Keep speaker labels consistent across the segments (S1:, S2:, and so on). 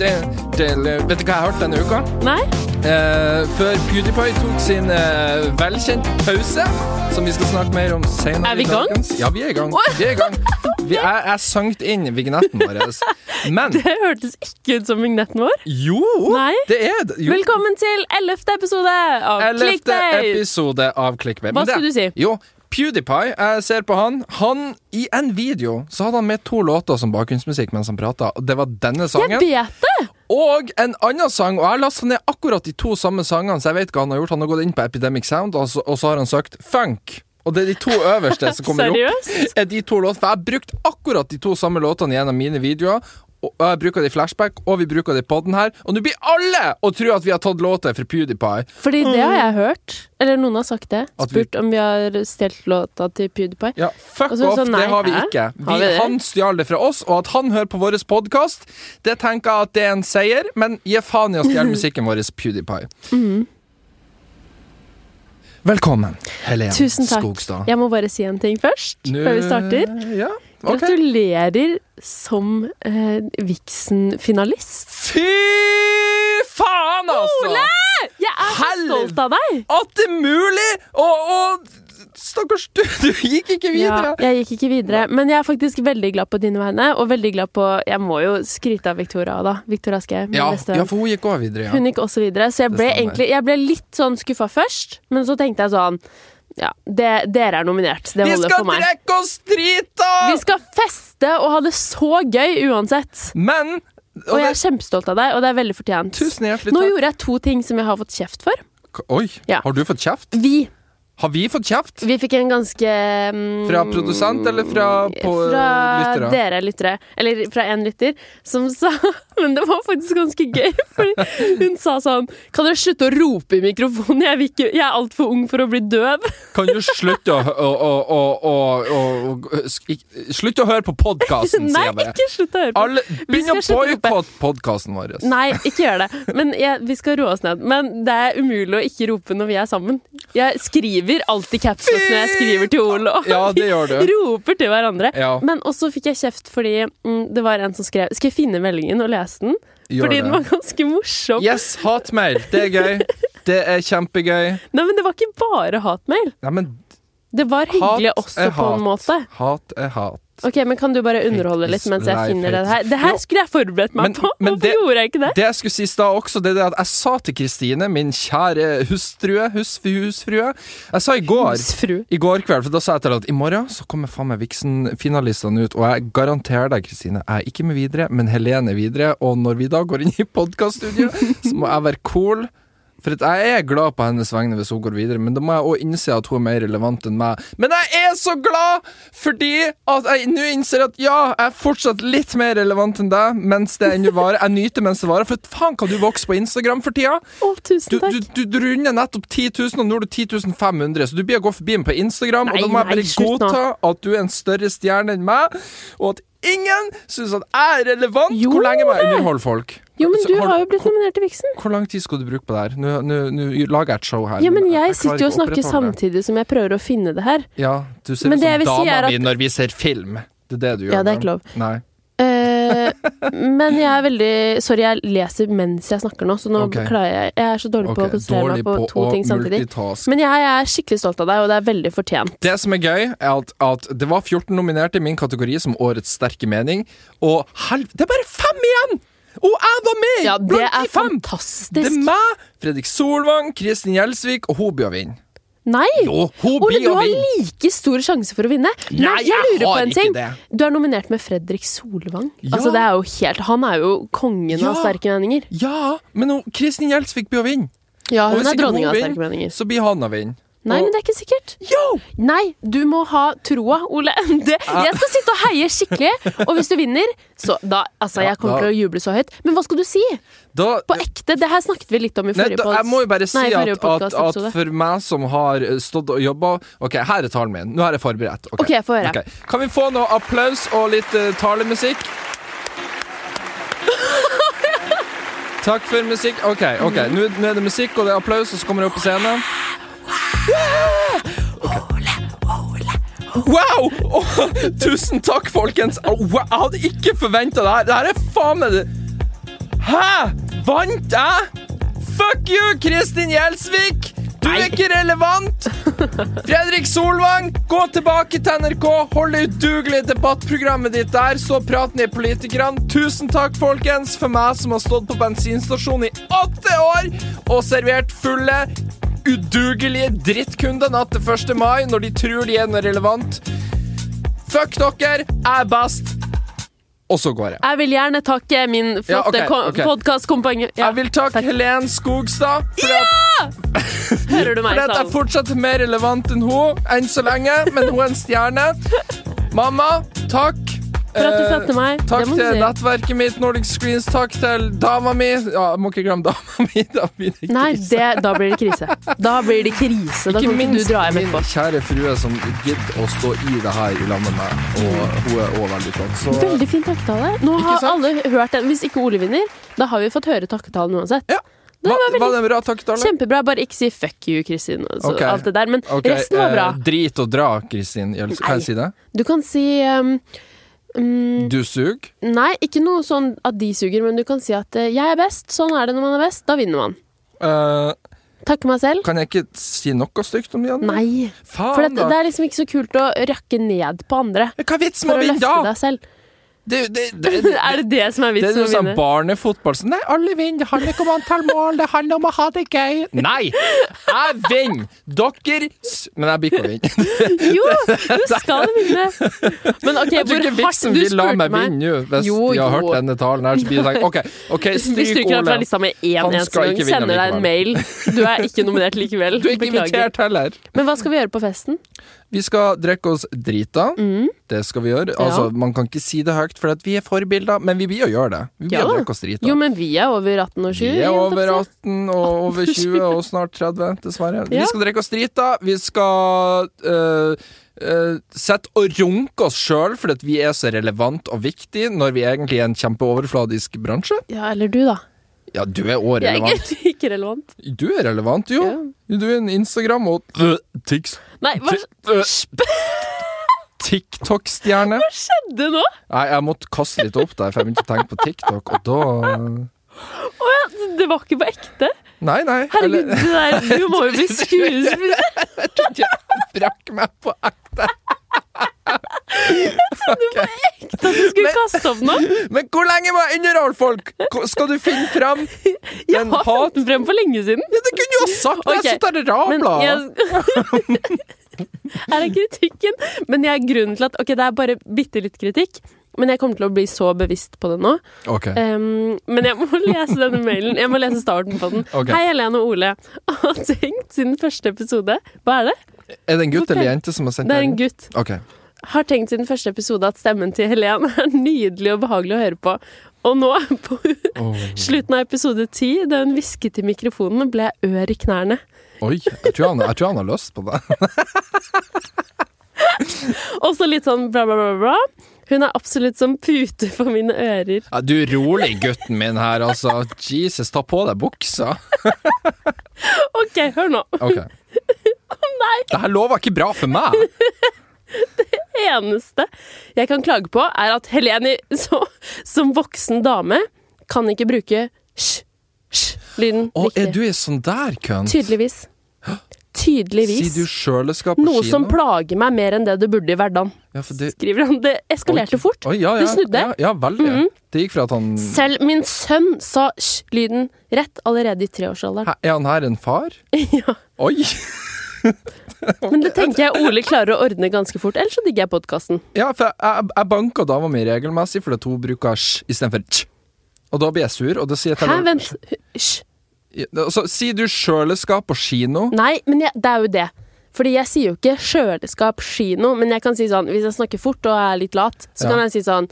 S1: Vet du hva jeg hørte denne uka?
S2: Nei?
S1: Eh, før PewDiePie tok sin eh, velkjent pause, som vi skal snakke mer om senere.
S2: Er vi i
S1: i
S2: gang?
S1: dagens- Ja, vi er i gang. Vi er i gang. Vi er, jeg sankt inn vignetten vår. Men
S2: Det hørtes ikke ut som vignetten vår.
S1: jo,
S2: Nei.
S1: det er det. Jo,
S2: Velkommen til 11. episode av
S1: 11.
S2: Clickbait!
S1: episode av Clickbait.
S2: Hva
S1: Men det-
S2: skulle du si?
S1: Jo, PewDiePie, jeg ser på han. Han, I en video så hadde han med to låter som bakgrunnsmusikk mens han prata. Det var denne sangen.
S2: Jeg vet det!
S1: Og en annen sang, og jeg har lastet ned akkurat de to samme sangene, så jeg vet hva han har gjort. Han har gått inn på Epidemic Sound, og så, og så har han søkt funk. Og det er de to øverste som kommer opp.
S2: Seriøst?
S1: Er de to låtene, For jeg har brukt akkurat de to samme låtene gjennom mine videoer. Og og jeg bruker det i flashback, og vi bruker det i podden her. Og nå blir alle å tro at vi har tatt låter fra PewDiePie.
S2: Fordi det har jeg hørt. Eller noen har sagt det.
S1: Mm. At vi-
S2: Spurt om vi har stjålet låta til PewDiePie.
S1: Ja, fuck
S2: Og så er det
S1: off,
S2: sånn, nei,
S1: det har vi
S2: hæ?
S1: ikke. Vi,
S2: Har vi det?
S1: han stjal det fra oss, og at han hører på vår podkast, det tenker jeg at det er en seier, men gi faen i å stjele musikken vår, PewDiePie.
S2: Mhm.
S1: Velkommen, Helen
S2: Tusen takk.
S1: Skogstad.
S2: Jeg må bare si en ting først, før vi starter.
S1: Ja, ok.
S2: Gratulerer som eh, Vixen-finalist.
S1: Fy faen, altså!
S2: Ole! Jeg er så
S1: Helv-
S2: stolt av deg!
S1: At det er mulig! Og, og stakkars du, du gikk ikke videre.
S2: Ja, jeg gikk ikke videre, men jeg er faktisk veldig glad på dine vegne. Og veldig glad på Jeg må jo skryte av Victoria, da. Victoria Skei. min
S1: Ja,
S2: beste venn.
S1: ja, for hun gikk også videre, ja.
S2: Hun gikk også videre, så jeg
S1: Det
S2: ble,
S1: stemmer.
S2: egentlig, jeg ble litt sånn skuffa først. Men så tenkte jeg sånn Ja, det, dere er nominert. Det
S1: Vi
S2: holder
S1: skal
S2: for meg.
S1: drikke oss drita!
S2: Vi skal feste og ha det så gøy uansett.
S1: Men og
S2: Og jeg
S1: det,
S2: er kjempestolt av deg, og det er veldig fortjent.
S1: Tusen hjertelig
S2: Nå
S1: takk.
S2: gjorde jeg to ting som jeg har fått kjeft for.
S1: K- Oi,
S2: Ja.
S1: har du fått kjeft?
S2: Vi.
S1: Har vi fått kjeft?
S2: Vi fikk en ganske mm,
S1: Fra produsent eller fra, på,
S2: Eh,
S1: eh,
S2: fra
S1: lyttere?
S2: dere lyttere, eller fra en lytter, som sa Men det var faktisk ganske gøy, fordi hun sa sånn Kan dere slutte å rope i mikrofonen? Jeg, vil ikke, jeg er altfor ung for å bli døv.
S1: Kan du slutte å, å, å, å, å, å, å sk- ikk- Slutte å høre på podkasten,
S2: Nei,
S1: sier jeg bare.
S2: ikke slutt å høre på.
S1: Alle, begynn å
S2: skal slutte å rope.
S1: boikotte podkasten vår.
S2: Nei, ikke gjør det. Men jeg, vi skal roe oss ned. Men det er umulig å ikke rope når vi er sammen. Jeg skriver alltid capslock når jeg skriver til Ole. og
S1: Ja, det gjør
S2: vi
S1: du.
S2: Roper til hverandre.
S1: Ja.
S2: Men også fikk jeg kjeft fordi mm, det var en som skrev Skal jeg finne meldingen og lese den?
S1: Gjør
S2: fordi
S1: det.
S2: den var ganske morsom.
S1: Yes, hatmail. Det er gøy. Det er kjempegøy.
S2: Nei, men det var ikke bare hatmail.
S1: Nei, men
S2: Det var hyggelig
S1: hat
S2: også
S1: er
S2: på en måte.
S1: hat. Hat er hat.
S2: Ok, men Kan du bare underholde
S1: Hate
S2: litt
S1: is
S2: mens jeg
S1: life,
S2: finner det
S1: hate
S2: her?
S1: is-
S2: Det
S1: Jo.
S2: her skulle jeg forberedt meg
S1: Men-
S2: på!
S1: men
S2: Hvorfor
S1: det-
S2: gjorde jeg ikke det?
S1: Det jeg skulle si i stad også, det er det at jeg sa til Kristine, min kjære hustrue, husfru, husfrue Jeg sa i går
S2: Husfru.
S1: I går kveld, for da sa jeg til deg at i morgen så kommer faen meg Vixen-finalistene ut, og jeg garanterer deg, Kristine, jeg er ikke med videre, men Helene er videre, og når vi da går inn i podkaststudio, så må jeg være cool. For at jeg er glad på hennes vegne hvis hun går videre, men da må jeg òg innse at hun er mer relevant enn meg. Men jeg er så glad fordi at jeg nå innser at ja, jeg er fortsatt litt mer relevant enn deg mens det ennå varer. Jeg nyter mens det varer, for faen kan du vokse på Instagram for tida?
S2: Å, tusen
S1: Du,
S2: takk.
S1: du, du, du runder nettopp 10 000, og nå er du 10 500, så du blir å gå forbi meg på Instagram.
S2: Nei,
S1: og da må jeg bare
S2: nei, slutt nå.
S1: godta at du er en større stjerne enn meg, og at ingen syns at jeg er relevant.
S2: Jo,
S1: Hvor lenge må jeg underholde folk?
S2: Jo, men
S1: Så
S2: du
S1: har-
S2: har jo blitt nominert til Vixen.
S1: Hvor lang tid skal du bruke på det her? Nå, nå, nå lager jeg et show her.
S2: Ja, men jeg
S1: klarer
S2: sitter jo og
S1: ikke å
S2: snakker
S1: opprettholde det.
S2: samtidig som jeg prøver å finne det her.
S1: Ja, du ser ut
S2: Men det jeg
S1: som
S2: vil si
S1: dama
S2: er at-
S1: mi når vi ser film. Det er det du gjør.
S2: Ja, det er
S1: men-
S2: ikke lov.
S1: Nei.
S2: Eh, men jeg er veldig Sorry, jeg leser mens jeg snakker nå, så nå
S1: Ok.
S2: klarer jeg Jeg er så dårlig på å
S1: Ok,
S2: konsentrere meg på, to ting samtidig.
S1: multitaske.
S2: Men jeg, er skikkelig stolt av deg, og det er veldig fortjent.
S1: Det som er gøy, er at, at det var 14 nominerte i min kategori som Årets sterke mening, og helv... Det er bare fem igjen! Og jeg var med!
S2: Ja, det
S1: blant de fem!
S2: er
S1: Det er
S2: fantastisk.
S1: meg, Fredrik Solvang, Kristin Gjelsvik, og hun blir å vinne.
S2: Nei!
S1: Jo, hun
S2: Ole,
S1: blir
S2: du
S1: å
S2: har
S1: vinne!
S2: like stor sjanse for å vinne.
S1: Nei,
S2: Men jeg
S1: jeg
S2: lurer på
S1: har
S2: en
S1: ikke
S2: ting.
S1: det.
S2: Du er nominert med Fredrik Solvang.
S1: Ja.
S2: Altså, det er jo helt Han er jo kongen
S1: Ja.
S2: av sterke meninger.
S1: Ja, men hun, Kristin Gjelsvik blir å vinne.
S2: Ja,
S1: Og
S2: hun
S1: hvis
S2: er
S1: ikke hun
S2: dronninga av
S1: vinner,
S2: sterke meninger.
S1: Så blir han å vinne.
S2: Nei, men det er ikke sikkert.
S1: Yo!
S2: Nei, du må ha troa, Ole. Det,
S1: Ah.
S2: jeg skal sitte og heie skikkelig. Og hvis du vinner, så da Altså,
S1: Ja,
S2: jeg kommer
S1: da-
S2: til å juble så høyt. Men hva skal du si?
S1: Da,
S2: På ekte? Det her snakket vi litt om i
S1: Nei,
S2: forrige
S1: da,
S2: pods-
S1: jeg må jo bare si
S2: Nei,
S1: at,
S2: forrige
S1: at, at
S2: podcastepisode.
S1: for meg som har eh, stått og jobba Ok, her er talen min. Nå er jeg forberedt. Ok,
S2: Ok, få høre.
S1: Ok. Kan vi få noe applaus og litt eh, talemusikk? Takk for musikk. Ok, ok,
S2: Mm.
S1: nå, nå er det musikk og det er applaus, og så kommer jeg opp på scenen.
S2: Ole, Ole,
S1: Wow! Åh, tusen takk, folkens. Au, wow, jeg hadde ikke forventa det her. Det her er faen meg det Hæ? Vant jeg? Fuck you, Kristin Gjelsvik! Du er ikke relevant! Fredrik Solvang, gå tilbake til NRK. Hold det udugelige debattprogrammet ditt der. Så prat ned politikerne. Tusen takk, folkens, for meg som har stått på bensinstasjon i åtte år og servert fulle, udugelige drittkunder natt til 1. mai når de tror de er noe relevant. Fuck dere, jeg er best. Og så går jeg.
S2: Jeg vil gjerne takke min flotte
S1: ok,
S2: ko-
S1: ok.
S2: podcastkompanjong- Ja,
S1: Jeg vil takke Helen Skogstad for at
S2: hører du meg i
S1: Fordi at jeg
S2: salen?
S1: fortsatt er mer relevant enn hun enn så lenge, men hun er en stjerne. Mamma, takk. eh,
S2: For at du sendte meg.
S1: Takk
S2: det må du
S1: til
S2: si.
S1: nettverket mitt, Nordic Screens. Takk til dama mi. Ja, jeg må ikke glemme dama mi. Da blir det
S2: Nei,
S1: krise.
S2: det, da blir det krise. Da blir det krise. Da
S1: Ikke
S2: kan ikke du
S1: minst
S2: dra hjem
S1: min
S2: etterpå.
S1: kjære frue som gidder å stå i det her i lag med meg. Og hun er òg veldig flott. Så
S2: Mm. Veldig fin takketale. Nå
S1: Ikke
S2: har
S1: sant?
S2: alle hørt den. Hvis ikke Ole vinner, da har vi fått høre takketalen uansett.
S1: ja.
S2: var
S1: Var,
S2: veldig-
S1: var det en bra takketale?
S2: Kjempebra. Bare ikke si 'fuck you', Kristin, og så
S1: Ok.
S2: alt det der. Men
S1: Ok,
S2: resten var bra.
S1: eh, drit og dra, Kristin. Gjels-
S2: Nei.
S1: Kan jeg si det?
S2: Du kan si um, um,
S1: Du suger.
S2: Nei, ikke noe sånn at de suger, men du kan si at eh, 'jeg er best', sånn er det når man er best. Da vinner man.
S1: Eh,
S2: Takke meg selv.
S1: kan jeg ikke si noe stygt om de andre?
S2: Nei.
S1: Faen,
S2: For det,
S1: da.
S2: det er liksom ikke så kult å rakke ned på andre.
S1: Men Hva er vitsen med
S2: For
S1: å
S2: å
S1: vinne,
S2: løfte
S1: da?
S2: deg selv.
S1: Det, det, det, det,
S2: Er det det som er
S1: det er noe
S2: vitsen med å
S1: sånn
S2: vinne?
S1: barnefotball. Så nei, alle vinner. Det handler ikke om antall mål, det handler om å ha det gøy. Nei! Jeg vinner! Dere s- Men jeg blir ikke å vinne.
S2: Jo, du skal vinne! Men OK,
S1: Jeg tror
S2: hvor
S1: ikke
S2: hardt
S1: vitsen
S2: du
S1: vil la
S2: spurte
S1: meg
S2: meg.
S1: vinne nå, hvis
S2: Jo,
S1: de har hørt
S2: jo.
S1: denne talen her. Så blir det sånn OK, ok,
S2: Vi
S1: stryk
S2: stryker deg fra
S1: Ole.
S2: lista med én
S1: Han
S2: eneste
S1: skal
S2: gang.
S1: ikke vinne
S2: Sender deg en mail. Du er ikke nominert likevel.
S1: Du er ikke
S2: Beklager.
S1: invitert heller.
S2: Men hva skal vi gjøre på festen?
S1: Vi skal drikke oss drita.
S2: Mm.
S1: Det skal vi gjøre. Altså, Man kan ikke si det høyt, for at vi er forbilder, men vi blir å gjøre det. Vi blir
S2: Ja.
S1: å drikke oss drita.
S2: Jo, men vi er over 18 og altså. 20.
S1: Vi er
S2: holdt jeg på å
S1: over
S2: si.
S1: 18 og over 20 og snart 30, dessverre. Vi
S2: Ja.
S1: skal drikke oss drita. Vi skal øh, øh, sette og runke oss sjøl fordi at vi er så relevant og viktig når vi egentlig er en kjempeoverfladisk bransje.
S2: Ja, eller du, da.
S1: Ja, du er òg
S2: Jeg er
S1: relevant.
S2: egentlig ikke relevant.
S1: Du er relevant, jo. Du er en Instagram- og øh, tiks-
S2: Nei, hva
S1: ti- øh, TikTok-stjerne.
S2: skjedde nå?
S1: Nei, jeg måtte kaste litt opp der, for jeg begynte å tenke på TikTok, og da
S2: Det var ikke på ekte.
S1: Nei, nei.
S2: Herregud,
S1: eller-
S2: det der, du må jo bli skuespiller.
S1: Jeg brakk meg på ekte.
S2: At du skulle kaste opp nå.
S1: Men hvor lenge må jeg underholde folk? Ko- Skal du finne frem
S2: Jeg
S1: den
S2: har
S1: hat...
S2: funnet den frem for lenge siden.
S1: Ja, det kunne du ha sagt!
S2: Ok,
S1: Jeg sitter her og
S2: Men
S1: rabler.
S2: jeg... Her er kritikken. Men jeg er grunnen til at Ok, det er bare bitte litt kritikk. Men jeg kommer til å bli så bevisst på det nå.
S1: Ok.
S2: Eh, Em, men jeg må lese denne mailen. Jeg må lese starten på den.
S1: Ok.
S2: Hei, Helene og Ole. Har tenkt siden første episode Hva er det?
S1: Er det en gutt
S2: ok.
S1: eller jente som har sendt
S2: Det er en
S1: den?
S2: gutt.
S1: Ok.
S2: Har tenkt siden første episode at stemmen til Helen er nydelig og behagelig å høre på. Og nå, på
S1: Åh.
S2: slutten av episode ti, da hun hvisket i mikrofonen, ble jeg ør i knærne.
S1: Oi, jeg tror, han, jeg tror han har lyst på det.
S2: Og så litt sånn bla, bla, bla, bla. Hun er absolutt som pute for mine ører.
S1: Ja, du, rolig, gutten min her, altså. Jesus, ta på deg buksa.
S2: OK, hør nå.
S1: Ok. Å nei! Det her lover ikke bra for meg.
S2: Eneste jeg kan klage på, er at Helene så, som voksen dame kan ikke bruke sj-sj-lyden
S1: Å, er
S2: riktig.
S1: du en sånn der kønt?
S2: Tydeligvis.
S1: Sier
S2: Tydeligvis.
S1: du sjøleskap på
S2: Noe
S1: kino?
S2: som plager meg mer enn det du burde i hverdagen.
S1: Ja, for det
S2: Skriver han. Det eskalerte
S1: Oi.
S2: fort.
S1: Oi, ja, ja,
S2: Det snudde. Mhm.
S1: Ja, ja veldig. Det gikk fra at han
S2: Selv min sønn sa sj-lyden rett allerede i treårsalderen.
S1: Hæ, Er han her en far?
S2: Ja.
S1: Oi!
S2: Men det tenker jeg Ole klarer å ordne ganske fort, ellers så digger jeg podkasten.
S1: Ja, for jeg, jeg, jeg banker dama mi regelmessig fordi at hun bruker sj istedenfor tj. Og da blir jeg sur, og da sier jeg til
S2: Hæ,
S1: henne
S2: vent. Hysj.
S1: Ja, Så sier du sjøleskap på kino?
S2: Nei, men jeg, det er jo det. Fordi jeg sier jo ikke kjøleskap, kino, men jeg kan si sånn Hvis jeg snakker fort og er litt lat, så
S1: Ja.
S2: kan jeg si sånn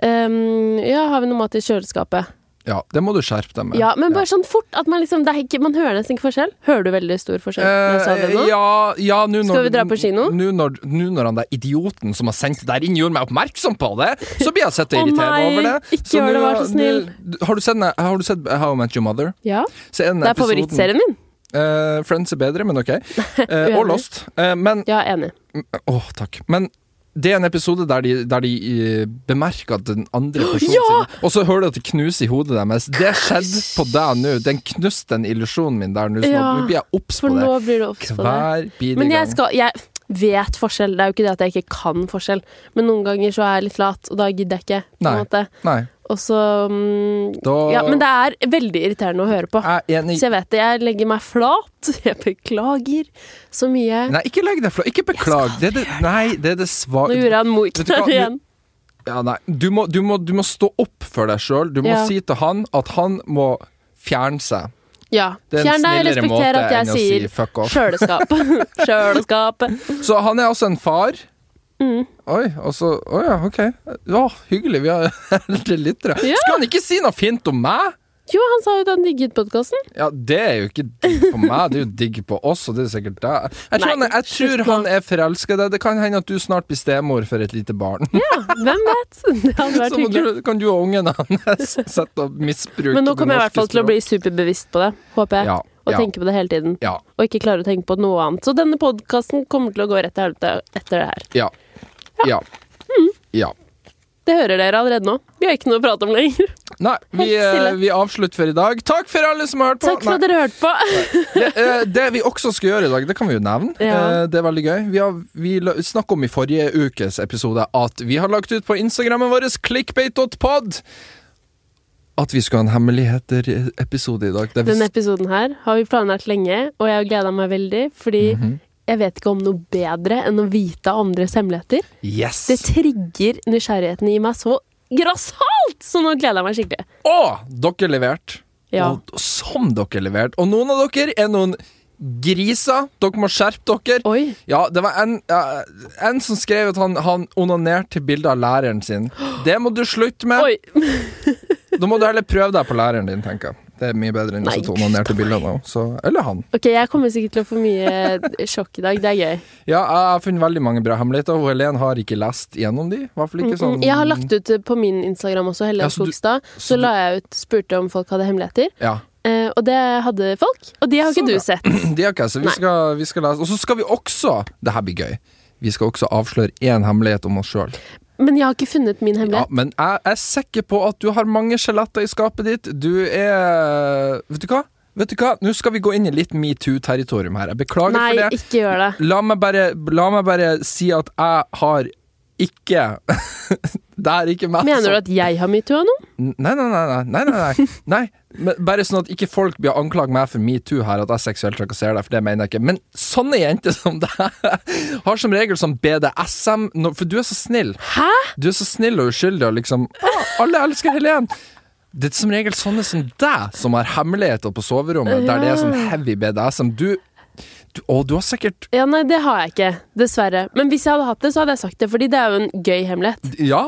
S2: ehm, Ja, har vi noe mat i kjøleskapet?
S1: Ja, det må du skjerpe deg med.
S2: Ja, men bare sånn fort at man liksom det er ikke, Man hører nesten ikke forskjell. Hører du veldig stor forskjell? når jeg sa det
S1: Eh,
S2: nå?
S1: ja, ja nå når,
S2: Skal vi dra på kino?
S1: Nå når, nå når han der idioten som har sendt det der inn, gjorde meg oppmerksom på det, så blir jeg sett
S2: Å
S1: irritert
S2: nei,
S1: over det.
S2: ikke gjør det, vær så
S1: nå- nå- Har du sett, den- har du sett How I Met Your Mother?
S2: Ja.
S1: Så er den
S2: Det er
S1: episoden-
S2: favorittserien min.
S1: Eh, Friends er bedre, men OK. Eh, og Lost. Eh, men
S2: Ja, enig.
S1: Åh, takk. Men det er en episode der de, der de eh, bemerker at den andre personen
S2: Ja!
S1: sin Og så hører du at det knuser i hodet deres. Det skjedde på deg nå. Den knuste den illusjonen min der nå. Så
S2: Ja,
S1: nå blir jeg obs
S2: For
S1: på det.
S2: nå blir du obs på det. sånn,
S1: Hver bidige
S2: Men jeg
S1: gang.
S2: skal Jeg vet forskjell. Det er jo ikke det at jeg ikke kan forskjell, men noen ganger så er jeg litt lat, og da gidder jeg ikke. På
S1: Nei.
S2: en måte.
S1: Nei,
S2: Og så mm,
S1: da
S2: Ja, men det er veldig irriterende å høre på.
S1: er jeg enig
S2: Så jeg vet det. Jeg legger meg flat. Jeg beklager så mye.
S1: Nei, ikke legg deg flat. Ikke beklag. Det er det, nei, det er det
S2: Nå
S1: svake
S2: gjorde han Moik
S1: Vet du hva?
S2: der igjen.
S1: ja, nei. Du, må, du, må, du må stå opp for deg sjøl. Du må
S2: Ja.
S1: si til han at han må fjerne seg.
S2: Ja.
S1: Det er en
S2: Fjern deg,
S1: snillere måte
S2: respekter at
S1: enn
S2: jeg
S1: å si
S2: sier
S1: fuck off.
S2: kjøleskap. Kjøleskap.
S1: Så han er altså en far.
S2: Mm.
S1: Oi, og så Å ja, OK. Ja, hyggelig. Vi har eldre lyttere.
S2: Ja.
S1: Skulle han ikke si noe fint om meg?
S2: Jo, han sa jo at han digget podkasten.
S1: Ja, det er jo ikke digg på meg, det er jo digg på oss, og det er sikkert deg. Jeg tror,
S2: Nei,
S1: han, er- jeg tror
S2: slutt nå.
S1: han er forelska i deg. Det kan hende at du snart blir stemor for et lite barn.
S2: Ja, hvem vet? Det hadde
S1: Så
S2: vært
S1: må
S2: hyggelig.
S1: du, kan du og ungen hans sette og misbruke
S2: Men nå kommer jeg i
S1: det
S2: hvert fall til å
S1: norske
S2: bli superbevisst på det, håper jeg.
S1: Ja,
S2: Og
S1: ja.
S2: tenke på det hele tiden.
S1: språk. Ja.
S2: Og ikke klare å tenke på noe annet. Så denne podkasten kommer til å gå rett til helvete etter det her.
S1: Ja. Ja.
S2: Mm.
S1: ja.
S2: Det hører dere allerede nå. Vi har ikke noe å prate om lenger.
S1: Nei, vi,
S2: Helt stille.
S1: eh, vi avslutter for i dag. Takk for alle som har hørt på!
S2: Takk
S1: Nei.
S2: for at dere hørte på.
S1: det, eh, det vi også skal gjøre i dag, det kan vi jo nevne.
S2: Ja.
S1: Eh, Det er veldig gøy. Vi, har, vi la- snakket om i forrige ukes episode at vi har lagt ut på Instagrammen vår clickbait.pod at vi skal ha en hemmeligheter-episode i dag. Det er
S2: Denne
S1: visst-
S2: episoden her har vi planlagt lenge, og jeg har gleda meg veldig, fordi
S1: Mhm.
S2: jeg vet ikke om noe bedre enn å vite andres hemmeligheter.
S1: yes!
S2: Det trigger nysgjerrigheten i meg så grassat! Så nå gleder jeg meg skikkelig.
S1: Og dere leverte!
S2: Ja.
S1: Og som dere leverte! Og noen av dere er noen griser. Dere må skjerpe dere.
S2: Oi.
S1: Ja, det var en, eh, en som skrev at han, han onanerte til bildet av læreren sin. Det må du slutte med!
S2: Oi.
S1: Da må du heller prøve deg på læreren din, tenker jeg. Det er mye bedre enn å
S2: Nei,
S1: sitte og onanere til bilder nå. Så, eller han.
S2: Ok, jeg kommer sikkert til å få mye sjokk i dag. Det er gøy.
S1: Ja, jeg har funnet veldig mange bra hemmeligheter, og Helen har ikke lest gjennom de. I hvert fall ikke sånn
S2: Mm, Jeg har lagt ut eh, på min Instagram også, Helene
S1: Ja, så du-
S2: Skogstad.
S1: så
S2: Så
S1: du-
S2: la jeg ut, spurte om folk hadde hemmeligheter,
S1: Ja.
S2: eh, og det hadde folk. Og de har
S1: Så bra.
S2: ikke du sett.
S1: De har ikke, så vi
S2: Nei.
S1: skal, vi skal lese. Og så skal vi også Det her blir gøy. Vi skal også avsløre én hemmelighet om oss sjøl.
S2: Men jeg har ikke funnet min
S1: Ja,
S2: hemmelighet.
S1: men jeg er sikker på at du har mange skjeletter i skapet ditt. Du er Vet du hva? Vet du hva? Nå skal vi gå inn i litt metoo-territorium her. Jeg beklager
S2: Nei,
S1: for det.
S2: ikke gjør det.
S1: La meg bare, la meg bare si at jeg har ikke Det er ikke meg
S2: Mener du
S1: som-
S2: at jeg har metoo nå?
S1: Nei, nei, nei. nei, nei, nei, nei. nei. Men bare sånn at ikke folk blir anklaget meg for metoo her, at jeg seksuelt trakasserer deg, for det mener jeg ikke. Men sånne jenter som deg har som regel sånn BDSM nå- For du er så snill.
S2: Hæ?
S1: Du er så snill og uskyldig og liksom ah, Alle elsker Helen. Det er som regel sånne som deg som har hemmeligheter på soverommet, der det er sånn heavy BDSM. Du, du, å, du har sikkert
S2: Ja, nei, det har jeg ikke. Dessverre. Men hvis jeg hadde hatt det, så hadde jeg sagt det, fordi det er jo en gøy hemmelighet.
S1: Ja.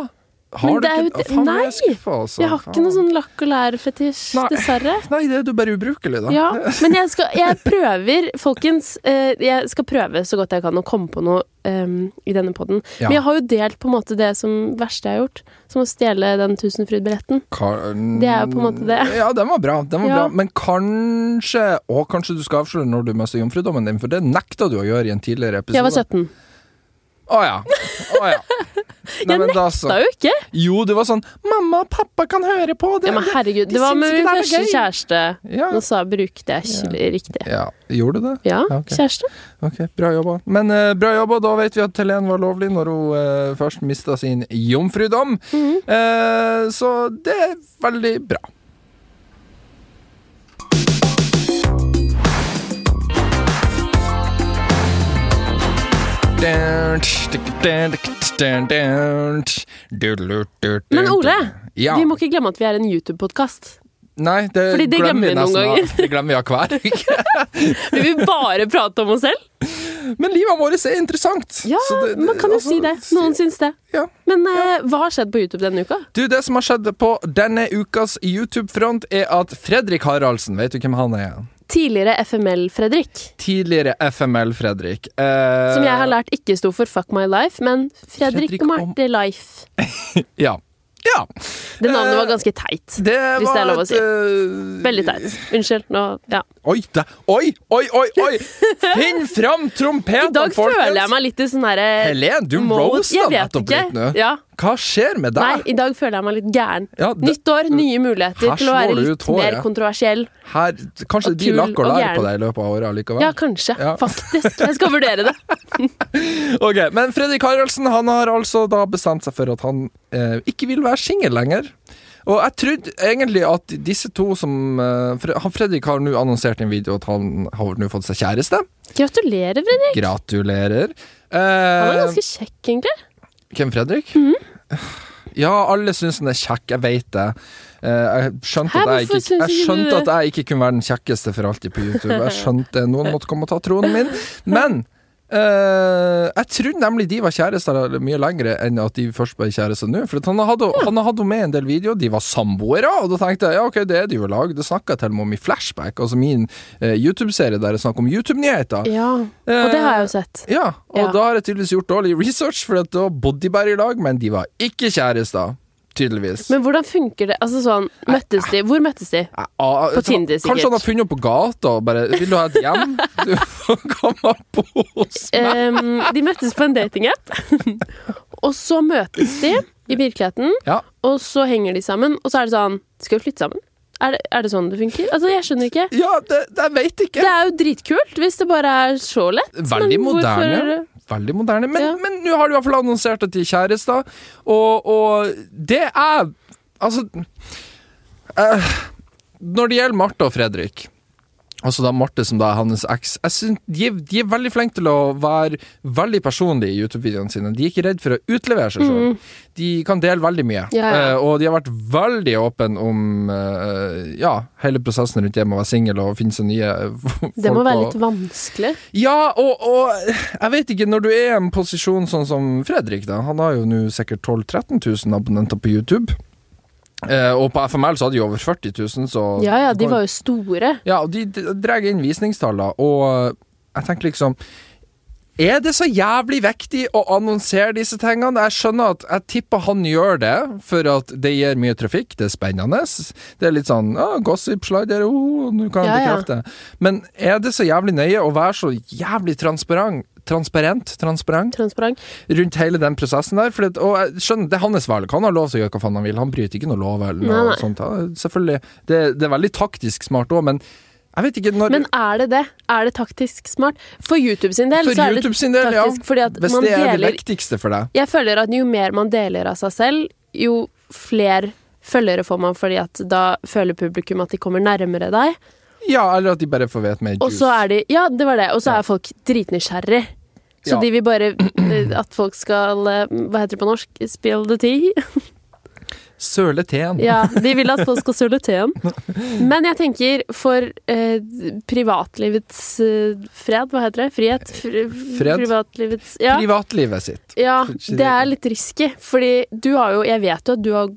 S1: Har
S2: Men
S1: du
S2: det
S1: ikke
S2: er jo-
S1: Å, Faen, nå er jeg
S2: nei.
S1: skuffa, altså.
S2: Jeg har ikke noe sånn lakk og lær-fetisj,
S1: Nei.
S2: dessverre.
S1: Nei, det er du bare ubrukelig, da.
S2: Ja, men jeg, skal, jeg prøver, folkens. eh, Jeg skal prøve så godt jeg kan å komme på noe em, i denne poden.
S1: Ja.
S2: Men jeg har jo delt på en måte det som verste jeg har gjort, som å stjele den Tusenfryd-billetten.
S1: Kan-
S2: Det er jo på en måte det.
S1: Ja, den var bra. Den var
S2: Ja.
S1: bra. Men kanskje Å, kanskje du skal avsløre når du mister jomfrudommen din, for det nekta du å gjøre i en tidligere episode.
S2: Jeg var 17.
S1: Å ja. Å ja. Nei, men da så.
S2: Det er jo ikke!
S1: Jo, det var sånn 'Mamma og pappa kan høre på det'.
S2: Ja, men herregud,
S1: de
S2: det var
S1: syns
S2: med
S1: ikke
S2: min
S1: det er
S2: første
S1: gøy.
S2: kjæreste.
S1: Ja.
S2: Nå sa jeg brukte jeg kjø- riktig.
S1: ja. Gjorde du det?
S2: Ja,
S1: Ja, ok.
S2: kjæreste.
S1: Ok, bra jobba. Men eh, bra jobba, da vet vi at Helen var lovlig når hun eh, først mista sin jomfrudom.
S2: Mhm.
S1: Eh, så det er veldig bra.
S2: Men Ole,
S1: ja.
S2: vi må ikke glemme at vi er en YouTube-podkast.
S1: Nei, det
S2: Fordi det
S1: glemmer vi
S2: glemmer vi noen
S1: nesten
S2: ganger.
S1: av- Det glemmer vi av hver uke.
S2: Vi vil bare prate om oss selv.
S1: Men livet vårt er interessant.
S2: Ja,
S1: Så det- det-
S2: man kan jo
S1: altså,
S2: si det. Noen syns det.
S1: ja.
S2: Men eh, hva har skjedd på YouTube denne uka?
S1: Du, Det som har skjedd på denne ukas YouTube-front, er at Fredrik Haraldsen Vet du hvem han er?
S2: Tidligere FML-Fredrik.
S1: Tidligere FML-Fredrik. Eh,
S2: Som jeg har lært ikke sto for Fuck My Life, men Fredrik,
S1: Fredrik
S2: og Marte Life.
S1: Ja. ja.
S2: Det navnet var ganske teit.
S1: Det
S2: Hvis det er lov å
S1: et,
S2: si.
S1: eh,
S2: Veldig teit. Unnskyld. Nå, ja.
S1: Oi, da. oi, oi, oi! oi Finn fram
S2: I
S1: trompeten,
S2: dag føler jeg meg litt i sånn herre
S1: Helen, du
S2: må-
S1: roasta
S2: Jeg vet
S1: nettopp eh.
S2: ikke.
S1: litt nå.
S2: Ja.
S1: Hva skjer med
S2: Nei,
S1: deg?
S2: i dag føler jeg meg litt gæren.
S1: Ja, det-
S2: Nytt år, nye muligheter
S1: Her
S2: til å
S1: slår
S2: være
S1: du
S2: litt
S1: ut håret.
S2: mer kontroversiell.
S1: Her, kanskje
S2: Og
S1: de
S2: kul
S1: lakker
S2: og
S1: lær på
S2: gæren.
S1: deg i løpet av året allikevel?
S2: Ja, kanskje.
S1: Ja.
S2: Faktisk. Jeg skal vurdere det.
S1: Ok, Men Fredrik Haraldsen han har altså da bestemt seg for at han eh, ikke vil være singel lenger. Og jeg trodde egentlig at disse to som eh, Fre- han Fredrik har nå annonsert i en video at han har nå fått seg kjæreste.
S2: Gratulerer, Fredrik.
S1: Gratulerer.
S2: Han er
S1: Eh,
S2: ganske kjekk, egentlig.
S1: Hvem, Fredrik?
S2: Mhm.
S1: Ja, alle syns han er kjekk, jeg vet det. Eh, Jeg skjønte,
S2: Hæ,
S1: at jeg,
S2: hvorfor
S1: ikke,
S2: syns
S1: jeg
S2: ikke du
S1: skjønte
S2: det?
S1: at jeg ikke kunne være den kjekkeste for alltid på YouTube. Jeg skjønte Noen måtte komme og ta tronen min. Men eh, jeg trodde nemlig de var kjærester mye lengre enn at de først ble kjærester nå. For at han hadde han hadde jo med en del videoer, de var samboere, og da tenkte jeg ja, ok, det er de jo i lag. Det snakka jeg til og med om i Flashback, altså min eh, YouTube-serie der jeg snakker om YouTube-nyheter.
S2: Ja, og det har jeg jo
S1: Eh,
S2: sett.
S1: Ja, og
S2: Ja.
S1: da har jeg tydeligvis gjort dårlig research, for at da bodde de bare i lag, men de var ikke kjærester. Tydeligvis.
S2: Men hvordan funker det? Altså sånn, møttes de? Hvor møttes de?
S1: Ja, ah,
S2: på Tinder, sikkert.
S1: Kanskje han har funnet opp på gata og bare 'Vil du ha et hjem?' Du får komme på hos meg.
S2: Ehm, de møttes på en datingapp, og så møtes de i virkeligheten,
S1: Ja.
S2: og så henger de sammen, og så er det sånn Skal vi flytte sammen? Er det, er det sånn det funker? Altså, jeg skjønner ikke.
S1: Ja, det, det jeg veit ikke.
S2: Det er jo dritkult hvis det bare er så lett.
S1: Veldig
S2: men hvorfor-
S1: moderne. Veldig moderne. Men
S2: Ja.
S1: men nå har de i hvert fall annonsert at de er kjærester, og, og det er Altså eh, Når det gjelder Marte og Fredrik Altså da Marte som da er hans eks Jeg synes de, er- de er veldig flinke til å være veldig personlige i YouTube-videoene sine. De er ikke redd for å utlevere seg selv. De kan dele veldig mye.
S2: Mm. Ja, ja.
S1: Eh, og de har vært veldig åpne om eh, ja, hele prosessen rundt det med å være singel og finne seg nye eh, folk.
S2: Det må være
S1: og-
S2: litt vanskelig.
S1: ja, og, og jeg vet ikke, når du er i en posisjon sånn som Fredrik, da Han har jo nå sikkert 12 000-13 000 abonnenter på YouTube. Eh, og på FML så hadde de over 40 000, så
S2: Ja ja, de var jo store.
S1: Ja, og de drar inn visningstallene, og jeg tenker liksom er det så jævlig viktig å annonsere disse tingene? Jeg skjønner at jeg tipper han gjør det, for at det gir mye trafikk, det er spennende. Det er litt sånn ah, gossip-slider, oh, nå kan jeg
S2: Ja, ja.
S1: bekrefte. Men er det så jævlig nøye å være så jævlig transparent, transparent, transparent
S2: Transparent.
S1: rundt hele den prosessen der? For det, og jeg skjønner, det er hans valg, han har lov til å gjøre hva faen han vil, han bryter ikke noe lov eller noe
S2: Nei, nei.
S1: sånt. Ja, Selvfølgelig. Det, det er veldig taktisk smart òg, men jeg vet ikke når
S2: Men er det det? Er det taktisk smart? For YouTube sin del
S1: For
S2: så er det
S1: YouTube sin del, ja.
S2: taktisk, fordi at
S1: Hvis
S2: man
S1: det er det
S2: deler
S1: viktigste for deg.
S2: Jeg føler at jo mer man deler av seg selv, jo flere følgere får man, fordi at da føler publikum at de kommer nærmere deg.
S1: Ja, eller at de bare får vite mer
S2: Og så er de Ja, det var det. Og så er folk dritnysgjerrig. Så
S1: Ja.
S2: de vil bare eh, at folk skal eh, Hva heter det på norsk? Spill the tea?
S1: Søle teen.
S2: Ja, de vil at folk skal søle teen. Men jeg tenker for eh, privatlivets eh, fred, hva heter det? Frihet? Fri-
S1: Fred.
S2: Privatlivets Ja.
S1: Privatlivet sitt.
S2: Ja,
S1: Kanskje
S2: det
S1: det-
S2: er litt risky, fordi du har jo Jeg vet jo at du har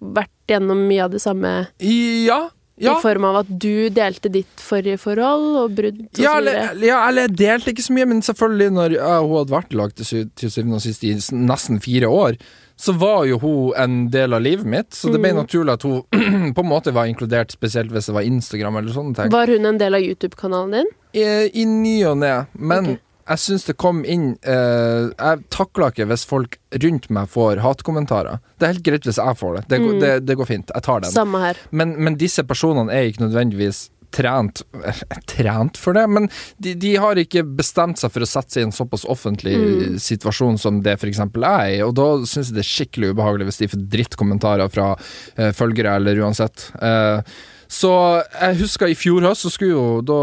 S2: vært gjennom mye av det samme
S1: Ja. Ja.
S2: i form av at du delte ditt forrige forhold og brudd og
S1: Ja
S2: så
S1: eller,
S2: videre.
S1: ja, eller jeg delte ikke så mye, men selvfølgelig, når ja, hun hadde vært i lag til sy- til syvende og sist i s- nesten fire år, så var jo hun en del av livet mitt, så det ble
S2: Mm.
S1: naturlig at hun på en måte var inkludert, spesielt hvis det var Instagram eller sånne ting.
S2: Var hun en del av YouTube-kanalen din?
S1: I, i ny og ne, men
S2: Ok.
S1: jeg syns det kom inn eh, Jeg takler ikke hvis folk rundt meg får hatkommentarer. Det er helt greit hvis jeg får det. Det,
S2: Mm.
S1: går- det, det går fint. Jeg tar den.
S2: Samme her.
S1: Men, men disse personene er ikke nødvendigvis trent Trent for det, men de, de har ikke bestemt seg for å sette seg i en såpass offentlig situasjon som det f.eks. jeg er i, og da syns jeg det er skikkelig ubehagelig hvis de får drittkommentarer fra eh, følgere eller uansett. Eh, så jeg husker i fjor høst, så skulle jo da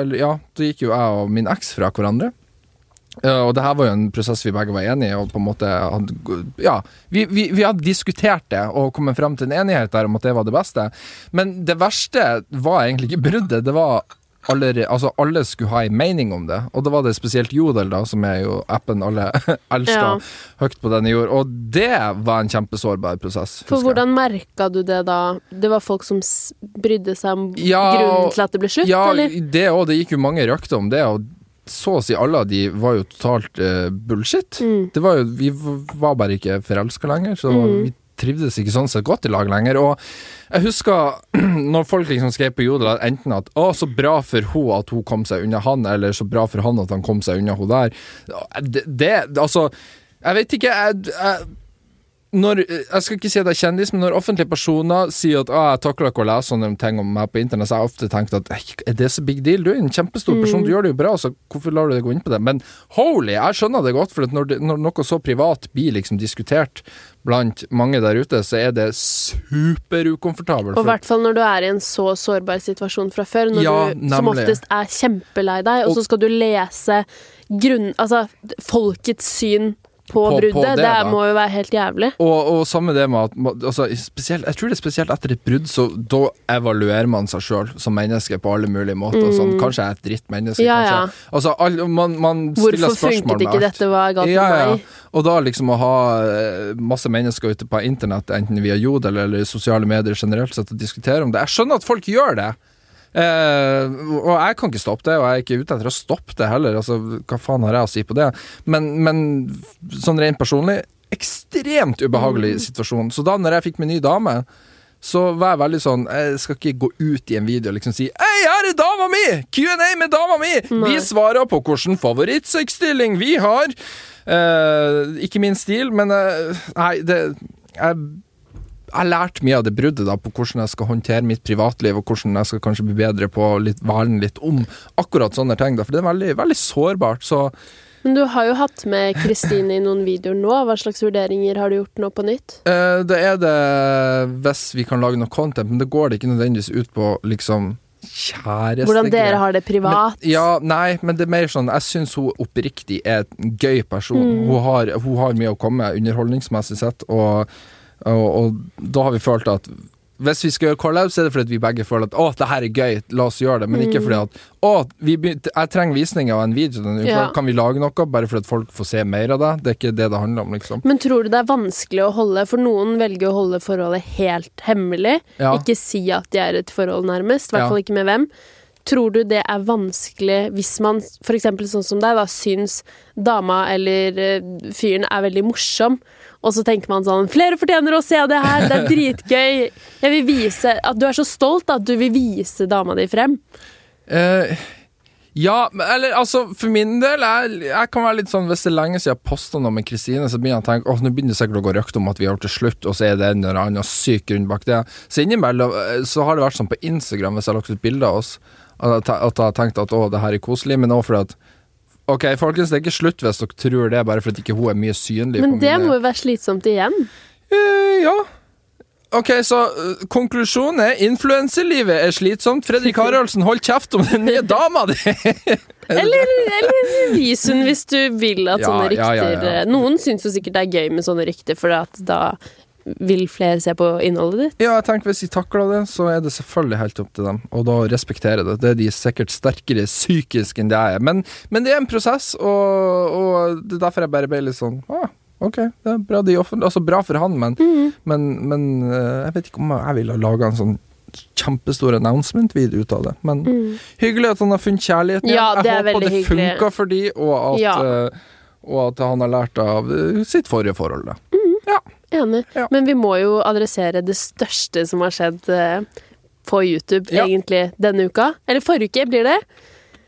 S1: Eller ja, da gikk jo jeg og min eks fra hverandre. Eh, og det her var jo en prosess vi begge var enige i, og på en måte hadde Ja, vi, vi, vi hadde diskutert det og kommet frem til en enighet der om at det var det beste. Men det verste var egentlig ikke bruddet, det var alle, altså alle skulle ha en mening om det, og da var det spesielt Jodel, da, som er jo appen alle elsker
S2: Ja.
S1: høyt på denne jord, og det var en kjempesårbar prosess.
S2: For
S1: husker jeg.
S2: hvordan merka du det da? Det var folk som s- brydde seg om
S1: Ja,
S2: grunnen til at det ble slutt,
S1: Ja,
S2: eller?
S1: det òg. Det gikk jo mange røkter om det. Og så å si alle av de var
S2: Mm.
S1: jo totalt eh, bullshit. Det var jo, vi v- var bare ikke forelska lenger, så vi trivdes ikke sånn sett godt i lag lenger. Og jeg husker når folk liksom skrev på Jodel at enten at 'Å, så bra for hun at hun kom seg unna han', eller 'så bra for han at han kom seg unna hun der'. Det, det altså Jeg vet ikke. Jeg, jeg når, eh, jeg skal ikke si at jeg er kjendis, men når offentlige personer sier at ah, 'jeg takler ikke å lese sånne ting om meg på internett', så har jeg ofte tenkt at «Ei, er det så big deal? Du er en kjempestor
S2: Mm.
S1: person, du gjør det jo bra, så hvorfor lar du det gå inn på det? Men holy, jeg skjønner det godt, for at når, det, når noe så privat blir liksom diskutert blant mange der ute, så er det superukomfortabelt.
S2: Og i hvert fall når du er i en så sårbar situasjon fra før, når
S1: Ja,
S2: du som
S1: nemlig.
S2: oftest er kjempelei deg, og,
S1: Og-
S2: så skal du lese grunn... Altså, folkets syn på,
S1: På- på
S2: bruddet.
S1: det,
S2: det
S1: da.
S2: må jo være helt jævlig.
S1: Og, og samme det med at ma- altså, spesielt, Jeg tror det er spesielt etter et brudd, så da evaluerer man seg sjøl som menneske på alle mulige måter. Sånn, kanskje jeg er et drittmenneske.
S2: Mm. Ja,
S1: kanskje.
S2: ja.
S1: Altså, all, man, man stiller
S2: Hvorfor
S1: spørsmål
S2: funket
S1: med
S2: ikke
S1: alt.
S2: dette? Hva er galt
S1: Ja,
S2: med
S1: ja.
S2: meg?
S1: Og da liksom å ha eh, masse mennesker ute på internett, enten via Jodel eller sosiale medier generelt sett, og diskutere om det. Jeg skjønner at folk gjør det. Eh, og jeg kan ikke stoppe det, og jeg er ikke ute etter å stoppe det heller. Altså, hva faen har jeg å si på det? Men, men sånn rent personlig, ekstremt ubehagelig situasjon. Så da når jeg fikk min nye dame, så var jeg veldig sånn Jeg skal ikke gå ut i en video og liksom si Hei, her er dama mi! Q&A med dama mi!
S2: Nei.
S1: Vi svarer på hvilken favorittsexstilling vi har. Eh, ikke min stil, men eh, Nei, det Jeg jeg lærte mye av det bruddet da, på hvordan jeg skal håndtere mitt privatliv, og hvordan jeg skal kanskje bli bedre på å litt- verne litt om akkurat sånne ting. da, For det er veldig, veldig sårbart. Så
S2: Men du har jo hatt med Kristine i noen videoer nå. Hva slags vurderinger har du gjort nå på nytt?
S1: Eh, det er det hvis vi kan lage noe content, men det går det ikke nødvendigvis ut på liksom kjæreste
S2: Hvordan dere har det privat?
S1: Men, ja, nei, men det er mer sånn Jeg syns hun oppriktig er en gøy person.
S2: Mm.
S1: Hun, har, hun har mye å komme med underholdningsmessig sett, og, og, og da har vi følt at hvis vi skal gjøre collab, så er det fordi at vi begge føler at 'Å, det her er gøy, la oss gjøre det', men
S2: Mm.
S1: ikke fordi at 'Å, vi begynte, jeg trenger visninger av en video denne uka,
S2: Ja.
S1: kan vi lage noe?' Bare fordi at folk får se mer av det. Det er ikke det det handler om, liksom.
S2: Men tror du det er vanskelig å holde? For noen velger å holde forholdet helt hemmelig.
S1: Ja.
S2: Ikke si at de er i et forhold, nærmest. I hvert
S1: Ja.
S2: fall ikke med hvem. Tror du det er vanskelig hvis man, f.eks. sånn som deg, da, syns dama eller eh, fyren er veldig morsom, og så tenker man sånn 'Flere fortjener å se det her, det er dritgøy'. Jeg vil vise At du er så stolt at du vil vise dama di frem.
S1: Eh, ja, men- eller altså, for min del jeg, jeg kan være litt sånn Hvis det er lenge siden jeg posta noe med Kristine, så begynner jeg å tenke Åh, nå begynner det sikkert å gå røkt om at vi har gjort det slutt, og så er det en eller annen syk grunn bak det. Så innimellom eh, så har det vært sånn på Instagram, hvis jeg har lagt ut bilder av oss, at jeg, te- at jeg har tenkt at å, det her er koselig, men òg fordi at Ok, folkens, det er ikke slutt hvis dere tror det, bare fordi ikke hun er mye synlig. på
S2: Men det
S1: mine-
S2: må jo være slitsomt igjen.
S1: Eh, ja. Ok, så eh, konklusjonen er influenselivet er slitsomt. Fredrik Haraldsen, hold kjeft om den nye dama di!
S2: Eller, eller vis hun hvis du vil at
S1: Eh, Ja,
S2: sånne
S1: ja,
S2: rykter eh,
S1: ja, ja.
S2: Noen syns jo sikkert det er gøy med sånne rykter, for at da vil flere se på innholdet ditt.
S1: Ja, jeg tenker Hvis de takler det, så er det selvfølgelig helt opp til dem. Og da respekterer jeg det. Det er de sikkert sterkere psykisk enn det jeg er. Men, men det er en prosess, og, og det er derfor jeg bare ble litt sånn ah, OK, det er bra, de offentlig, altså bra for han, men,
S2: Mm.
S1: men, men eh, jeg vet ikke om jeg ville ha laga en sånn kjempestor announcement-video ut av det. Men hyggelig at han har funnet kjærligheten.
S2: Mm. Ja,
S1: igjen.
S2: det er
S1: jeg håper
S2: veldig
S1: det
S2: hyggelig.
S1: funka for de, og at,
S2: Ja.
S1: eh, og at han har lært av eh, sitt forrige forhold. Da.
S2: Mm. Enig.
S1: Ja.
S2: Men vi må jo adressere det største som har skjedd eh, på YouTube,
S1: Ja.
S2: egentlig, denne uka. Eller forrige uke blir det.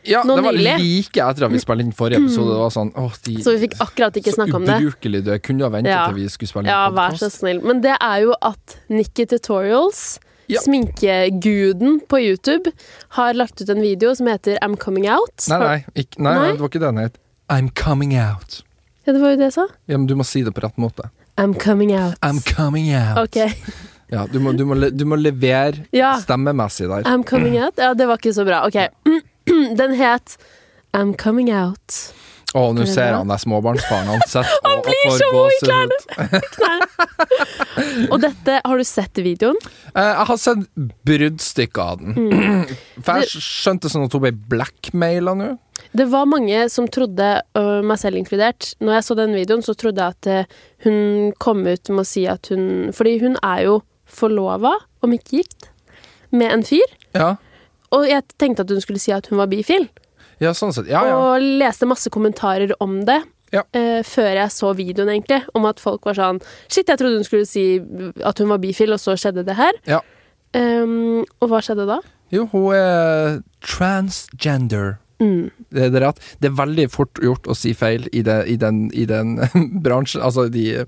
S1: Ja,
S2: Nå
S1: det var
S2: nylig. Mm.
S1: like etter at vi spilte inn forrige episode. Det var sånn, åh, de,
S2: Så vi fikk akkurat ikke snakke om det.
S1: Så ubrukelig du er. Kunne ha ventet
S2: Ja.
S1: til vi skulle spille inn
S2: Ja, vær så
S1: podcast.
S2: snill. Men det er jo at Nikki Tutorials,
S1: Ja.
S2: sminkeguden på YouTube, har lagt ut en video som heter I'm Coming Out.
S1: Nei, nei, ikk- nei, nei,
S2: Nei?
S1: det var ikke det den het. I'm coming out.
S2: Ja, det var jo det jeg sa.
S1: Ja, men du må si det på rett måte.
S2: I'm coming out.
S1: I'm coming out.
S2: Ok.
S1: Ja, du må, du må, le, du må levere
S2: Ja.
S1: stemmemessig der.
S2: I'm coming out? Ja, det var ikke så bra. Ok. Den het I'm coming out.
S1: Å, nå
S2: det
S1: ser
S2: bra?
S1: han der småbarnsfaren han sitter og- og
S2: blir
S1: får
S2: så
S1: gåsehud.
S2: Og dette, har du sett videoen?
S1: Eh, Jeg har sett bruddstykker av den.
S2: Mm.
S1: For jeg skjønte sånn at hun ble blackmaila nå.
S2: Det var mange som trodde, øh, meg selv inkludert Når jeg så den videoen, så trodde jeg at eh, hun kom ut med å si at hun Fordi hun er jo forlova, om ikke gift, med en fyr.
S1: Ja.
S2: Og jeg tenkte at hun skulle si at hun var bifil,
S1: ja, sånn sett. Ja, ja.
S2: og leste masse kommentarer om det.
S1: Ja.
S2: eh, før jeg så videoen, egentlig, om at folk var sånn Shit, jeg trodde hun skulle si at hun var bifil, og så skjedde det her.
S1: Ja.
S2: Ehm, og hva skjedde da?
S1: Jo, hun er transgender.
S2: Mm.
S1: Det, det, er rett. det er veldig fort gjort å si feil i, det, i den, i den bransjen. Altså de eh,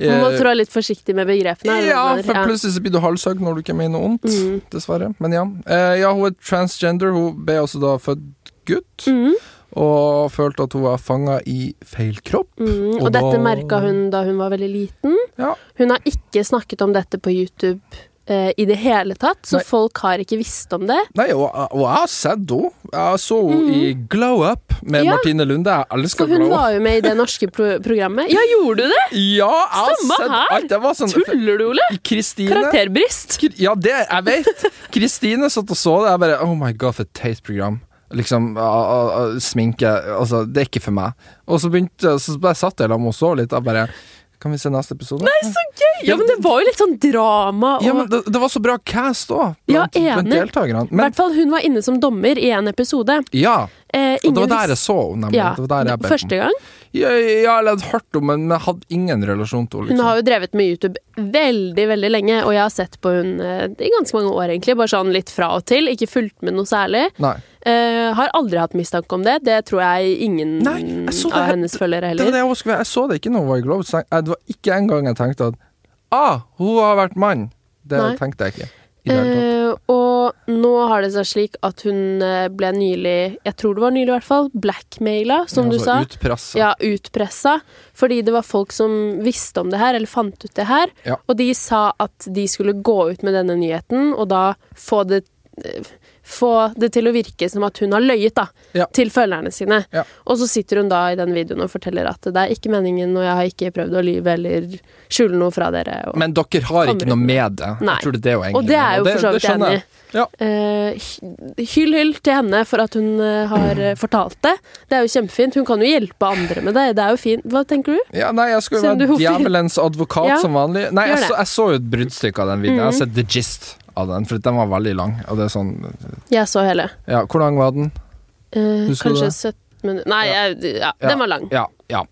S2: Man må trå litt forsiktig med begrepene. er det
S1: Ja,
S2: det
S1: for
S2: er?
S1: plutselig så blir du halshøg når du ikke mener ondt,
S2: Mm.
S1: dessverre. Men ja. Eh, ja, hun er transgender. Hun ble også da født gutt,
S2: Mm,
S1: og følte at hun var fanga i feil kropp.
S2: mm. Og
S1: Og da-
S2: dette merka hun da hun var veldig liten.
S1: Ja.
S2: Hun har ikke snakket om dette på YouTube eh, i det hele tatt, så
S1: Nei.
S2: folk har ikke visst om det.
S1: Nei, og, og jeg har sett henne. Jeg så henne i Glow Up med
S2: Mm. Ja.
S1: Martine Lunde. Jeg elsker
S2: For hun
S1: Glow Up.
S2: var jo med i det norske pro programmet. Ja, gjorde du det?!
S1: Ja, jeg har
S2: Samme
S1: sett
S2: her.
S1: alt. Det var sånn
S2: Tuller du, Ole?
S1: Kristine
S2: Karakterbrist.
S1: Kr- Ja, det jeg vet. Kristine satt og så det. Jeg bare Oh my god, for et teit program. Liksom, ah, ah, ah, sminke Altså, det er ikke for meg. Og så begynte Så bare satt jeg sammen og så litt. Jeg bare Kan vi se neste episode? Nei, så
S2: Ja, men det var jo litt sånn drama og
S1: ja, men det, det var så bra cast òg,
S2: Ja,
S1: blant, blant
S2: enig.
S1: deltakerne.
S2: I
S1: Men
S2: hvert fall hun var inne som dommer i en episode.
S1: ja.
S2: Eh,
S1: Og det
S2: ingen
S1: var der jeg
S2: visste-
S1: så henne, nemlig.
S2: ja,
S1: Det var der jeg bare,
S2: Første gang.
S1: ja, ja, eller jeg hadde hørt om henne, men jeg hadde ingen relasjon til henne.
S2: Hun
S1: Liksom.
S2: har jo drevet med YouTube veldig veldig lenge, og jeg har sett på hun eh, i ganske mange år, egentlig. Bare sånn litt fra og til. Ikke fulgt med noe særlig.
S1: liksom. Nei.
S2: Eh, har aldri hatt mistanke om det. Det tror jeg ingen
S1: Nei, jeg så det
S2: av
S1: her-
S2: hennes
S1: Det
S2: følgere
S1: var
S2: heller.
S1: det jeg, også, skulle- jeg så det ikke når hun var i Globe. så jeg- Det var ikke engang jeg tenkte at Ah, hun har vært mann! Det
S2: Nei.
S1: tenkte jeg ikke. I det hele tatt.
S2: Eh, og nå har det seg slik at hun eh, ble nylig, jeg tror det var nylig i hvert fall, blackmaila, som du
S1: Altså,
S2: sa.
S1: Utpressa.
S2: Ja, utpressa. Fordi det var folk som visste om det her, eller fant ut det her.
S1: Ja.
S2: Og de sa at de skulle gå ut med denne nyheten, og da få det eh, få det til å virke som at hun har løyet da,
S1: Ja.
S2: til følgerne sine.
S1: Ja.
S2: Og så sitter hun da i den videoen og forteller at det er ikke meningen, og jeg har ikke prøvd å lyve eller skjule noe fra dere. Og,
S1: Men dere har ikke noe med det.
S2: Nei.
S1: Jeg tror det er det hun egentlig
S2: og det er jo
S1: mener,
S2: for så vidt
S1: det
S2: jeg
S1: skjønner
S2: enig i.
S1: Ja.
S2: Eh, hy- hyll, hyll til henne for at hun eh, har eh, fortalt det. Det er jo kjempefint. Hun kan jo hjelpe andre med det. Det er jo fint. Hva tenker du?
S1: Ja, nei, jeg skulle
S2: Siden du
S1: være
S2: hvorfor-
S1: djevelens advokat
S2: Ja,
S1: som vanlig. Nei,
S2: gjør
S1: jeg
S2: det. Mhm.
S1: så, jeg så jo et bruddstykke av den videoen. Jeg har sett the gist av den, for den var veldig lang. Og det er sånn
S2: Jeg så hele.
S1: Ja, hvor lang var den?
S2: Eh,
S1: Husker du
S2: kanskje
S1: det?
S2: 17 minutter Nei,
S1: Ja.
S2: jeg, ja,
S1: Ja.
S2: den var lang.
S1: Ja. ja.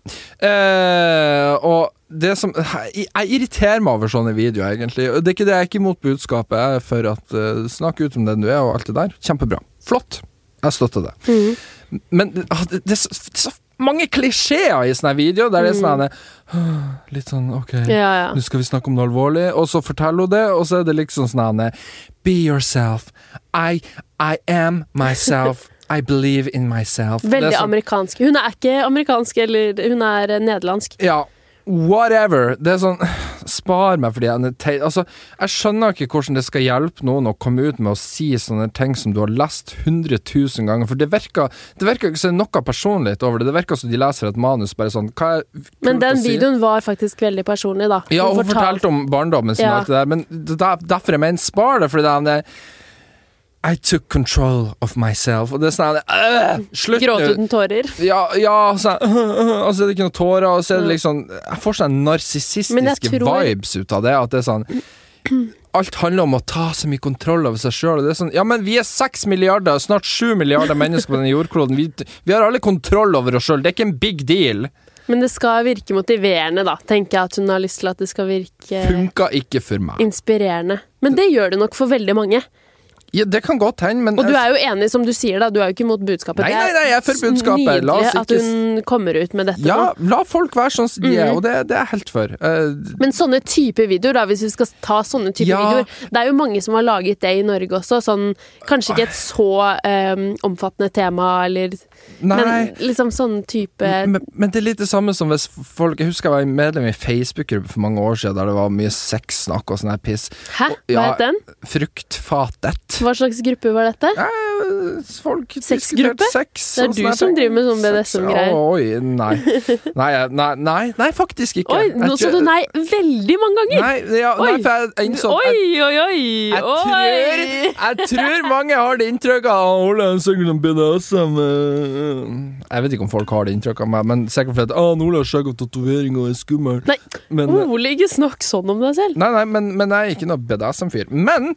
S1: Eh, og det som jeg, jeg irriterer meg over sånne videoer, egentlig. Og Det er ikke det jeg er ikke imot budskapet. Jeg er for at eh, Snakk ut om den du er, og alt det der. Kjempebra. Flott. Jeg støtter det.
S2: Mhm.
S1: Men ah, det, det, er så, det er så mange klisjeer i sånne videoer. Der det er sånn her, Litt sånn OK,
S2: Mm. Ja, ja.
S1: nå skal vi snakke om noe alvorlig, og så forteller hun det, og så er det liksom sånn her Be yourself. I, I am myself. I believe in myself. Det er
S2: Veldig
S1: sånn-
S2: amerikansk. Hun er ikke amerikansk, eller hun er eh, nederlandsk.
S1: Ja, whatever. Det er sånn Spar meg for de ene tei- Altså, jeg skjønner ikke hvordan det skal hjelpe noen å komme ut med å si sånne ting som du har lest 100 000 ganger, for det virker, det virker ikke som det er noe personlig over det. Det virker som de leser et manus bare sånn Hva er kult
S2: Men
S1: å
S2: den
S1: si?
S2: videoen var faktisk veldig personlig, da.
S1: Ja, hun fortalte om barndommen sin og
S2: Ja.
S1: alt det der, men det- der, derfor jeg mener spar det, for det er den der I took control of myself. Og det er sånn øh, Slutt nå!
S2: Gråt uten tårer.
S1: Ja, ja sånn, og så er det ikke noe tårer, og så er det liksom Jeg får sånne
S2: Men jeg
S1: narsissistiske
S2: tror-
S1: vibes ut av det. At det er sånn Alt handler om å ta så mye kontroll over seg sjøl. Sånn, ja, men vi er seks milliarder, snart sju milliarder mennesker på denne jordkloden. Vi, vi har alle kontroll over oss sjøl. Det er ikke en big deal.
S2: Men det skal virke motiverende, da. Tenker jeg at hun har lyst til at det skal virke
S1: Funka ikke for meg.
S2: inspirerende. Men det gjør det nok for veldig mange.
S1: Ja, det kan godt hende, men
S2: Og du er jo enig, som du sier, da. Du er jo ikke imot budskapet.
S1: Nei,
S2: Det
S1: nei, nei, jeg er for budskapet. La oss
S2: Nydelig at
S1: ikke
S2: hun Mm. kommer ut med dette nå.
S1: Ja, la folk være sånn som de er, og det, det er jeg helt for. Eh,
S2: Men sånne type videoer, da, hvis vi skal ta sånne type
S1: Ja.
S2: videoer Det er jo mange som har laget det i Norge også. Sånn, kanskje ikke et så eh, omfattende tema, eller
S1: nei.
S2: Men liksom sånn type
S1: men, men det er litt det samme som hvis folk Jeg husker jeg var medlem i Facebook-gruppe for mange år siden der det var mye sexsnakk og sånn her piss.
S2: Hæ? Hva
S1: Ja.
S2: het den?
S1: Fruktfatet.
S2: Hva slags gruppe var dette?
S1: Eh, Folk
S2: Sexgruppe?
S1: diskuterte Sex,
S2: Det er
S1: og
S2: du
S1: sånne her
S2: som
S1: ting.
S2: driver med sånn
S1: Sex-
S2: BDSM-greier.
S1: Oi, nei. Nei, jeg- nei, nei. Nei, faktisk ikke.
S2: Oi,
S1: Jeg
S2: nå sa
S1: tror-
S2: du nei veldig mange ganger!
S1: Nei, ja,
S2: Oi.
S1: nei, for jeg innså at
S2: Oi,
S1: jeg-
S2: oi, oi!
S1: jeg
S2: oi.
S1: tror, jeg tror mange har det inntrykket av Ole han snakker om BDSM. eh, Jeg vet ikke om folk har det inntrykket av meg, men sikkert fordi at, «Ah, Ole har skjegg og tatovering og er skummel.
S2: Nei.
S1: Men,
S2: Ole, ikke snakk sånn om deg selv.
S1: Nei, nei, men, men jeg er ikke noe BDSM-fyr. Men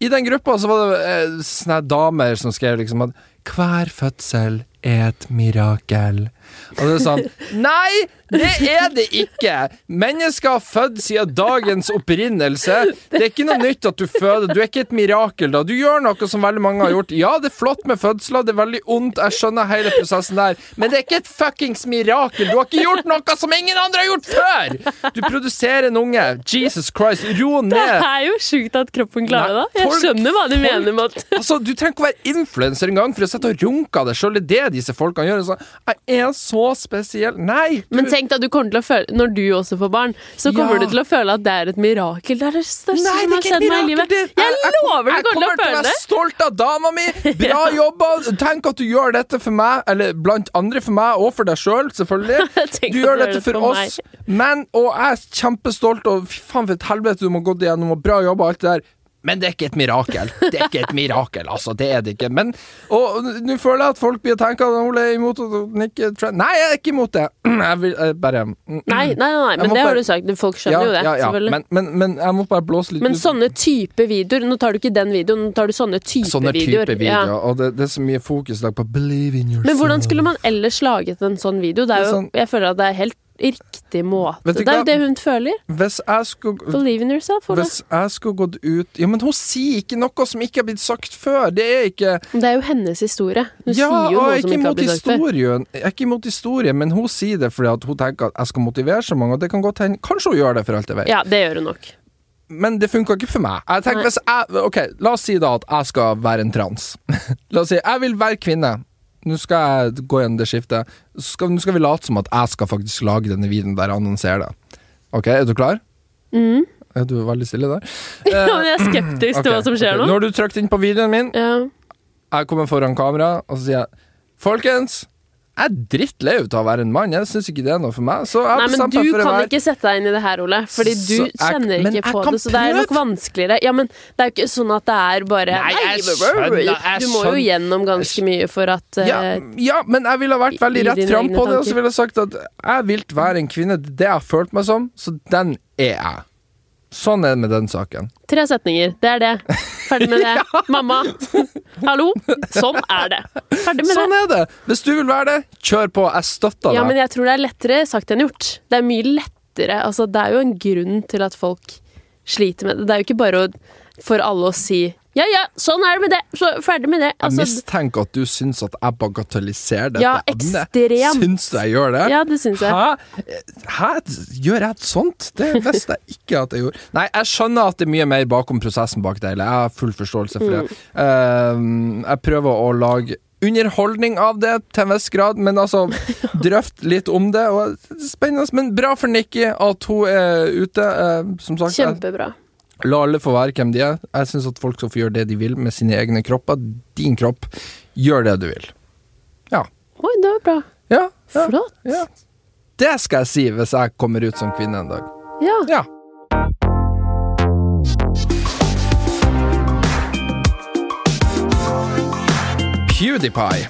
S1: i den gruppa så var det eh, sånne damer som skrev liksom at hver fødsel er et mirakel. Og det er sånn Nei, det er det ikke! Mennesker har født siden dagens opprinnelse. Det er ikke noe nytt at du føder. Du er ikke et mirakel, da. Du gjør noe som veldig mange har gjort. Ja, det er flott med fødsler, det er veldig ondt, jeg skjønner hele prosessen der, men det er ikke et fuckings mirakel. Du har ikke gjort noe som ingen andre har gjort før! Du produserer en unge. Jesus Christ, ro
S2: Det
S1: ned.
S2: er jo sjukt at kroppen klarer
S1: Nei,
S2: det. da. Jeg
S1: folk-
S2: skjønner hva de
S1: folk-
S2: mener med at
S1: Altså, Du trenger ikke å være influenser engang for å sitte og runke av deg sjøl. Det er det disse folkene gjør. Sånn, jeg er så spesiell. Nei! Du,
S2: Men tenk at du kommer til å føle Når du også får barn, så kommer
S1: Ja.
S2: du til å føle at det er et mirakel. Det er det
S1: Nei, det
S2: største som
S1: er
S2: har
S1: ikke et
S2: skjedd meg i
S1: mirakel!
S2: livet.
S1: Det-
S2: Jeg
S1: jeg-
S2: lover
S1: jeg
S2: du kommer til å
S1: å
S2: føle
S1: være
S2: det!
S1: stolt av dama mi! Bra jobba! Tenk at du gjør dette for meg, eller blant andre for meg, og for deg sjøl, selv, selvfølgelig.
S2: Tenk
S1: Du
S2: at
S1: gjør dette for
S2: meg.
S1: oss, men Og jeg er kjempestolt, og fy faen for et helvete du må ha gått igjennom, og bra jobba, alt det der. Men det er ikke et mirakel. Det er ikke et mirakel, altså. Det er det ikke. Men Og nå føler jeg at folk blir tenker at Ole er imot at hun ikke trend. Nei, jeg er ikke imot det. Jeg vil jeg bare
S2: Nei, nei, nei, nei,
S1: Jeg må
S2: men det
S1: bare-
S2: har du sagt. Folk skjønner jo det,
S1: ja, ja.
S2: selvfølgelig.
S1: Men, men, men jeg må bare blåse litt
S2: Men
S1: ut.
S2: sånne type videoer Nå tar du ikke den videoen, nå tar du sånne type
S1: Sånne
S2: videoer.
S1: type
S2: Ja.
S1: videoer. Og det, det er så mye fokus i dag på believe in yourself.
S2: Men hvordan skulle man ellers laget en sånn video? Det er jo,
S1: Sånn-
S2: jeg føler at det er helt riktig måte.
S1: Vet du
S2: Det er
S1: hva?
S2: jo det hun føler.
S1: Hvis jeg skulle
S2: Believe in yourself. Ola.
S1: hvis jeg skulle gått ut Ja, men hun sier ikke noe som ikke har blitt sagt før! Det er ikke
S2: Men Det er jo hennes historie.
S1: Ja,
S2: Hun sier jo
S1: og
S2: noe
S1: jeg er ikke
S2: som ikke har
S1: imot
S2: blitt sagt før.
S1: historien, jeg er ikke imot historien, men hun sier det fordi at hun tenker at jeg skal motivere så mange, og det kan godt hende Kanskje hun gjør det, for alt jeg vet,
S2: Ja, det gjør hun nok.
S1: men det funka ikke for meg. Jeg tenker,
S2: Nei.
S1: hvis jeg, ok, La oss si da at jeg skal være en trans. la oss si jeg vil være kvinne. Nå skal jeg gå gjennom det skiftet. Så Skal, nå skal vi late som at jeg skal faktisk lage denne videoen der jeg annonserer det. Ok, Er du klar?
S2: Mm.
S1: Er du veldig stille der?
S2: Ja, men jeg er skeptisk til hva som skjer
S1: Eh,
S2: nå.
S1: Nå har du trykt inn på videoen min.
S2: Ja.
S1: Jeg kommer foran kamera, og så sier jeg Folkens, jeg er drittlei av å være en mann. Jeg syns ikke det er noe for meg. Så jeg har
S2: Nei, men
S1: bestemt
S2: du
S1: meg for å
S2: kan
S1: være
S2: ikke sette deg inn i det her, Ole. Fordi du
S1: Så jeg-
S2: kjenner
S1: men
S2: ikke
S1: jeg
S2: på
S1: kan
S2: det, så det er nok
S1: prøve.
S2: vanskeligere. Ja, men det er jo ikke sånn at det er bare
S1: Nei, jeg
S2: men-
S1: skjønner, jeg
S2: Du må jo
S1: skjønner.
S2: gjennom ganske mye for at eh,
S1: ja, ja, men jeg ville ha vært veldig
S2: i
S1: rett
S2: dine
S1: fram
S2: egne
S1: på det, og så
S2: tanker.
S1: ville jeg sagt at jeg vil være en kvinne. Det er det jeg har følt meg som, så den er jeg. Sånn er det med den saken.
S2: Tre setninger. Det er det. Ferdig med det. Mamma. Hallo. Sånn er det. Ferdig med
S1: Sånn
S2: det.
S1: er det! Hvis du vil være det, kjør på. Jeg støtter
S2: Ja, men
S1: deg.
S2: jeg tror det er lettere sagt enn gjort. Det er mye lettere. Altså, det er jo en grunn til at folk sliter med det. Det er jo ikke bare å, for alle å si ja, ja, sånn er det med det. Så ferdig med det.
S1: Jeg
S2: Altså,
S1: mistenker at du syns at jeg bagatelliserer dette.
S2: Ja,
S1: emnet.
S2: ekstremt.
S1: Syns du jeg gjør det?
S2: ja, det syns jeg.
S1: Hæ? Hæ? Gjør jeg et sånt? Det visste jeg ikke at jeg gjorde. Nei, jeg skjønner at det er mye mer bakom prosessen bak det hele. Jeg har full forståelse for det.
S2: Mm.
S1: Eh, jeg prøver å lage underholdning av det til en viss grad, men altså drøft litt om det. Og det er spennende, men bra for Nikki at hun er ute. eh, som sagt, jeg-
S2: Kjempebra.
S1: la alle få være hvem de er. Jeg syns at folk skal få gjøre det de vil med sine egne kropper. Din kropp, gjør det du vil.
S2: Oi, det var bra.
S1: Ja, ja,
S2: Flott.
S1: ja. Det skal jeg si hvis jeg kommer ut som kvinne en dag.
S2: Ja.
S1: Ja. PewDiePie.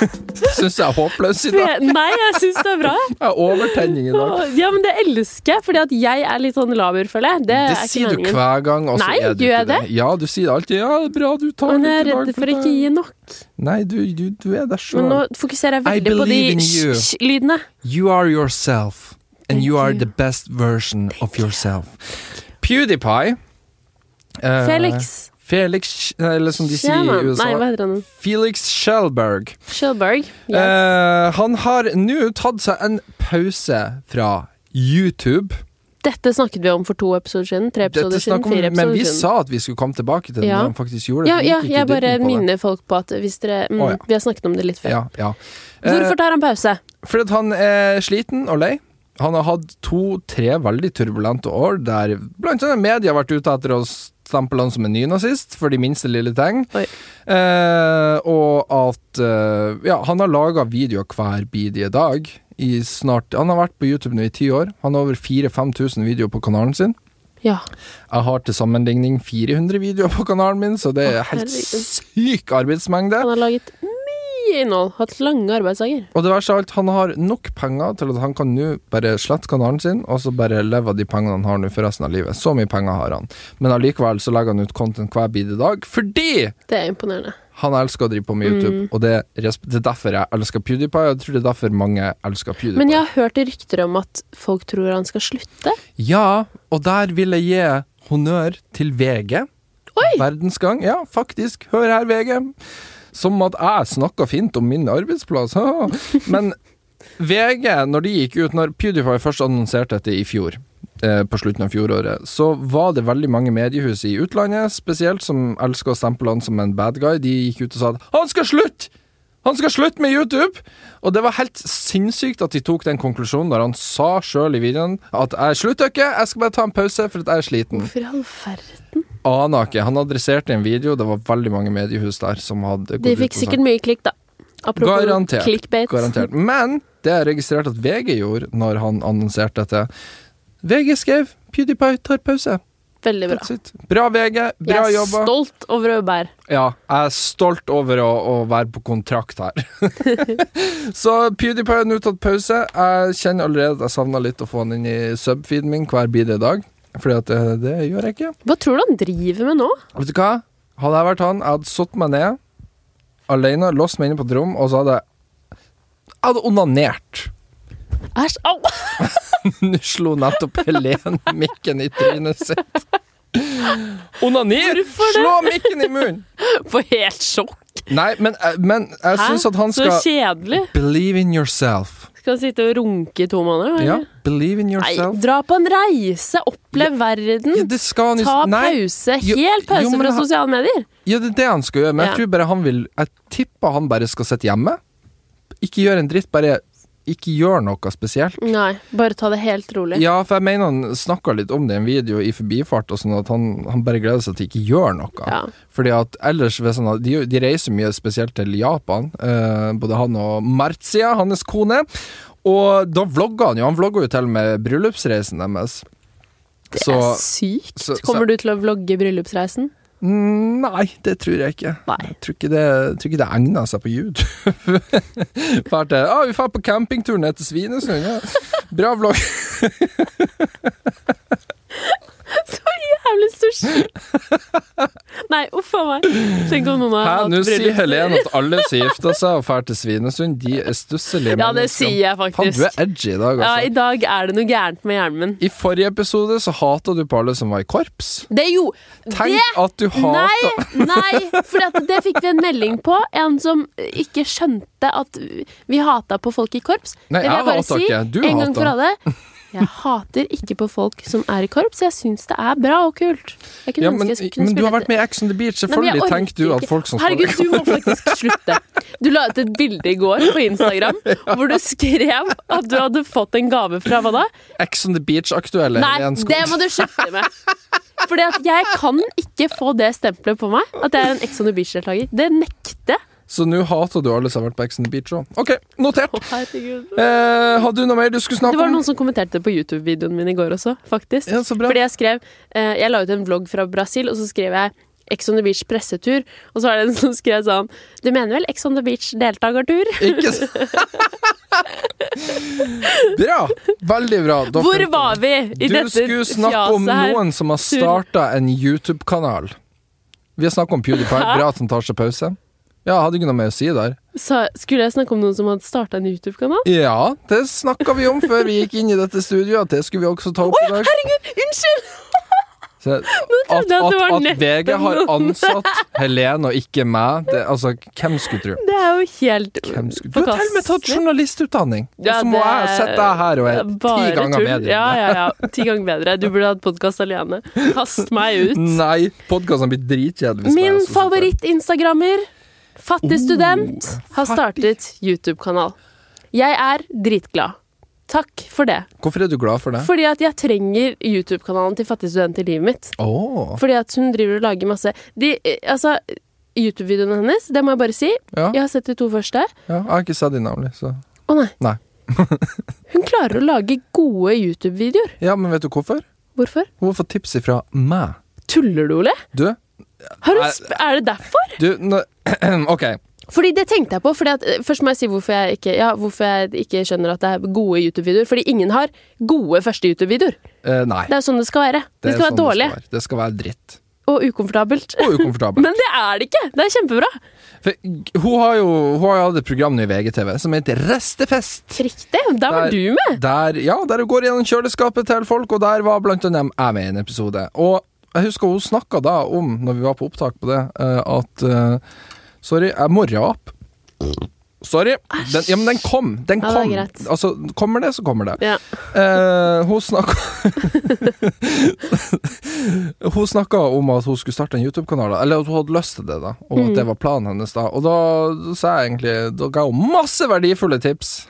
S1: Syns jeg er håpløs i dag.
S2: Nei, jeg syns det er bra.
S1: Jeg har overtenning i dag.
S2: Ja, men det elsker jeg, fordi at jeg er litt sånn laber, føler jeg. Det,
S1: Det
S2: er ikke
S1: sier du
S2: meningen.
S1: hver gang. Og så
S2: Nei,
S1: er du
S2: gjør
S1: ikke
S2: jeg
S1: det? Ja, du sier det alltid. Ja, det er bra du tar
S2: Men jeg
S1: litt i
S2: er
S1: dag
S2: redd for å ikke
S1: det.
S2: gi nok.
S1: Nei, du, du, du er deg
S2: Men
S1: sjøl.
S2: nå fokuserer jeg veldig
S1: I
S2: på de
S1: believe in you.
S2: sj-lydene.
S1: You are yourself, and
S2: Thank
S1: you are
S2: you.
S1: the best version of yourself. PewDiePie eh,
S2: Felix.
S1: Felix, eller som de sier
S2: Sherman.
S1: i USA
S2: Nei, hva heter han?
S1: Felix Schellberg.
S2: Schilberg. Yes.
S1: Eh, han har nå tatt seg en pause fra YouTube.
S2: Dette snakket vi om for to episoder siden. Tre episoder
S1: Dette
S2: siden,
S1: snakker vi
S2: fire
S1: om, men
S2: episoder
S1: vi
S2: siden.
S1: sa at vi skulle komme tilbake til det
S2: Ja.
S1: når han faktisk gjorde det.
S2: Ja,
S1: Vi
S2: ja,
S1: gikk ikke i
S2: jeg bare
S1: dybden på det.
S2: minner folk på at hvis dere mm,
S1: Å, ja.
S2: Vi har snakket om det litt før.
S1: ja, ja. Eh,
S2: Hvorfor tar han pause?
S1: Fordi at han er sliten og lei. Han har hatt to-tre veldig turbulente år der blant annet media har vært ute etter å stemple han som en nynazist for de minste lille ting.
S2: Oi.
S1: Eh, og at eh, Ja, han har laga videoer hver bidige dag i snart Han har vært på YouTube nå i ti år. Han har over 4000-5000 videoer på kanalen sin.
S2: Ja.
S1: Jeg har til sammenligning 400 videoer på kanalen min, så det er
S2: Å,
S1: helt
S2: herregud.
S1: syk arbeidsmengde.
S2: Han har laget mye innhold. Hatt lange arbeidsdager.
S1: Og det verste av alt, han har nok penger til at han kan nå bare slette kanalen sin, og så bare leve av de pengene han har nå for resten av livet. Så mye penger har han. Men allikevel så legger han ut content hver bidige dag, fordi
S2: Det er imponerende.
S1: han elsker å drive på med YouTube, og det, resp- det er derfor jeg elsker PewDiePie, og jeg tror det er derfor mange elsker PewDiePie.
S2: Men jeg har hørt rykter om at folk tror han skal slutte.
S1: Ja, og der vil jeg gi honnør til VG.
S2: Oi!
S1: Verdensgang. Ja, faktisk. Hør her, VG. Som at jeg snakka fint om min arbeidsplass. Men VG, når de gikk ut Når PewDiePie først annonserte dette i fjor, eh, på slutten av fjoråret, så var det veldig mange mediehus i utlandet, spesielt som elsker å stemple han som en bad guy, de gikk ut og sa at 'han skal slutte'! Han skal slutte med YouTube! Og det var helt sinnssykt at de tok den konklusjonen når han sa sjøl i videoen at 'jeg slutter ikke, jeg skal bare ta en pause for at jeg er sliten'
S2: Hvorfor i all verden?
S1: aner ikke. Han adresserte en video, det var veldig mange mediehus der som hadde gått
S2: De
S1: ut
S2: fikk
S1: og
S2: sikkert mye klikk, da. Apropos
S1: Garantert.
S2: clickbait.
S1: sagt Garantert. Men det jeg registrerte at VG gjorde når han annonserte dette VG skrev 'PewDiePie tar pause'.
S2: Veldig bra.
S1: That's it. Bra, VG. Bra
S2: jeg er
S1: jobba.
S2: stolt over Øyberg.
S1: Ja, jeg er stolt over å, å være på kontrakt her. så PewDiePie har nå tatt pause. Jeg kjenner allerede at jeg savna litt å få han inn i subfeeden min hver bidige dag. Fordi at det, det gjør jeg ikke.
S2: Hva tror du han driver med nå?
S1: Vet du hva? Hadde jeg vært han, jeg hadde satt meg ned alene, låst meg inne på et rom, og så hadde jeg Jeg hadde onanert.
S2: Æsj, au!
S1: Nå slo nettopp Helene mikken i trynet sitt. Onaner! Slå mikken i munnen!
S2: For helt sjokk.
S1: Nei, men, eh, men jeg syns at han skal
S2: Så kjedelig.
S1: Believe in yourself.
S2: Skal han sitte og runke i to måneder? eller?
S1: Ja, believe in
S2: Nei,
S1: yourself.
S2: dra på en reise, opplev verden.
S1: Ja, det skal han jo-
S2: Ta
S1: Nei.
S2: pause.
S1: Jo-
S2: Helt
S1: jo,
S2: pause
S1: men
S2: fra
S1: han-
S2: sosiale medier.
S1: Ja, det er det han skal gjøre, men
S2: Ja.
S1: jeg tror bare han vil Jeg tipper han bare skal sitte hjemme. Ikke gjøre en dritt, bare ikke gjøre noe spesielt.
S2: Nei, bare ta det helt rolig.
S1: Ja, for jeg mener han snakka litt om det i en video i forbifart, og sånn at han, han bare gleder seg til ikke gjør noe.
S2: Ja.
S1: Fordi at ellers hvis han, har- de, de reiser mye, spesielt til Japan, eh, både han og Marcia, hans kone. Og da vlogga han jo, han vlogga jo til og med bryllupsreisen deres.
S2: det
S1: så-
S2: er sykt.
S1: så- så-
S2: Kommer du til å vlogge bryllupsreisen?
S1: Mm, Nei, det tror jeg ikke.
S2: Nei.
S1: Jeg tror ikke det, jeg tror ikke det egner seg på YouTube. Fær til, ah, vi drar på campingtur ned til Svinesund. Ja. Bra vlogg.
S2: Jævlig sushi! Nei, uff a meg. Tenk om noen har
S1: Hæ,
S2: hatt
S1: nå sier
S2: bryllups-
S1: Helene at alle som gifter seg og drar til Svinesund, de er stusselige
S2: Ja, det sier jeg
S1: Faen, du
S2: faktisk.
S1: er edgy i dag,
S2: Ja, I
S1: altså.
S2: dag er det noe gærent med hjernen min.
S1: I forrige episode så hata du på alle som var i korps.
S2: Det er jo
S1: Tenk
S2: det
S1: at du hata
S2: Nei, nei, for det, det fikk vi en melding på. En som ikke skjønte at vi hata på folk i korps.
S1: Nei,
S2: det vil
S1: jeg
S2: jeg bare
S1: hater
S2: si
S1: ikke. Du
S2: en gang
S1: hater.
S2: for alle. Jeg hater ikke på folk som er i korps. Jeg syns det er bra og kult. Jeg kunne
S1: ja,
S2: ønske
S1: men,
S2: jeg kunne
S1: men du har
S2: spilt
S1: vært med i Ex on the Beach,
S2: Nei, men jeg
S1: selvfølgelig
S2: orker
S1: tenker du at
S2: ikke.
S1: folk som står
S2: Herregud, du må faktisk slutte. Du la ut et bilde i går på Instagram hvor du skrev at du hadde fått en gave fra hva da?
S1: Ex on the Beach-aktuelle
S2: Nei,
S1: Helene
S2: det
S1: Skog.
S2: må du slutte med. Fordi at jeg kan ikke få det stempelet på meg, at jeg er en Ex on the Beach-deltaker. Det nekter jeg.
S1: Så nå hater du alle som har vært på Ex on the Beach òg. OK, notert.
S2: Å, herregud.
S1: Eh, hadde du noe mer du skulle
S2: Det
S1: snakke
S2: var
S1: om?
S2: noen som kommenterte det på YouTube-videoen min i går også, faktisk.
S1: Ja, så bra.
S2: Fordi jeg skrev eh, Jeg la ut en vlogg fra Brasil, og så skrev jeg Ex on the Beach pressetur, og så var det en som skrev sånn Du mener vel Ex on the Beach deltakertur?
S1: Ikke s- Bra. Veldig bra. Da
S2: Hvor
S1: fulgte
S2: var vi i
S1: Du
S2: dette
S1: skulle snakke om
S2: fjaset her?
S1: noen som har starta en YouTube-kanal. Vi har snakka om PewDiePie. Bra at han tar seg pause. Ja, jeg hadde ikke noe mer å si der.
S2: Sa, skulle jeg snakke om noen som hadde starta en YouTube-kanal?
S1: Ja, det snakka vi om før vi gikk inn i dette studioet, at det skulle vi også ta opp i dag.
S2: Unnskyld!
S1: Så,
S2: trodde jeg
S1: at,
S2: det
S1: at,
S2: var
S1: at VG
S2: nettopp
S1: har
S2: noen.
S1: ansatt Helene og ikke meg, det, altså, hvem skulle tro?
S2: Det er jo helt
S1: Hvem skulle Du har til og med tatt journalistutdanning! og
S2: Ja,
S1: så må
S2: det
S1: jeg sette deg her og
S2: Det
S1: er
S2: er
S1: ti
S2: bare
S1: ganger
S2: tull.
S1: bedre.
S2: Ja, ja, ja. Ti ganger bedre. Du burde hatt podkast alene. Kast meg ut.
S1: Nei, podkasten blir dritkjedelig. hvis jeg
S2: Min
S1: er sånn så sikker.
S2: favoritt-instagrammer, fattig
S1: Oh,
S2: student, har
S1: fattig.
S2: startet YouTube-kanal. Jeg er dritglad. Takk for det.
S1: Hvorfor er du glad for det?
S2: Fordi at jeg trenger YouTube-kanalen til fattig student i livet mitt.
S1: Åh
S2: Fordi at hun driver og lager masse De, eh, Altså, YouTube-videoene hennes, det må jeg bare si.
S1: Ja.
S2: Jeg har sett de to første.
S1: Ja, jeg har ikke sett de navnlig, så
S2: Å nei.
S1: Nei.
S2: Hun klarer å lage gode YouTube-videoer.
S1: Ja, men vet du hvorfor?
S2: Hvorfor?
S1: Hun har fått tips ifra meg.
S2: Tuller du, Ole?
S1: Du,
S2: Har hun sp er det derfor?
S1: du nå, Ok,
S2: Fordi det tenkte jeg på. Fordi at, eh, først må jeg si hvorfor jeg ikke, ja, hvorfor jeg ikke skjønner at det er gode YouTube-videoer. Fordi ingen har gode første YouTube-videoer.
S1: Eh, nei.
S2: Det er jo sånn det skal være. Det,
S1: er
S2: skal
S1: sånn
S2: være dårlig
S1: Det skal være, det skal være dritt.
S2: og ukomfortabelt.
S1: Og ukomfortabelt.
S2: Men det er det ikke! Det er kjempebra.
S1: For, hun har jo hun har jo hatt et program nå i VGTV som heter Restefest.
S2: Riktig! Der var
S1: Der-
S2: du med!
S1: Der, ja, der hun går gjennom kjøleskapet til folk, og der var blant annet jeg med i en episode. Og jeg husker hun snakka da om, når vi var på opptak på det, eh, at eh, Sorry, jeg må rape. Sorry. Den, ja, men den kom. Den
S2: Ja, det er
S1: kom.
S2: greit.
S1: altså, kommer det, så kommer det.
S2: Ja.
S1: Eh, hun snakka Hun snakka om at hun skulle starte en YouTube-kanal, da. eller at hun hadde lyst til det, da og
S2: Mm.
S1: at det var planen hennes. da Og da sa jeg egentlig Da ga hun masse verdifulle tips.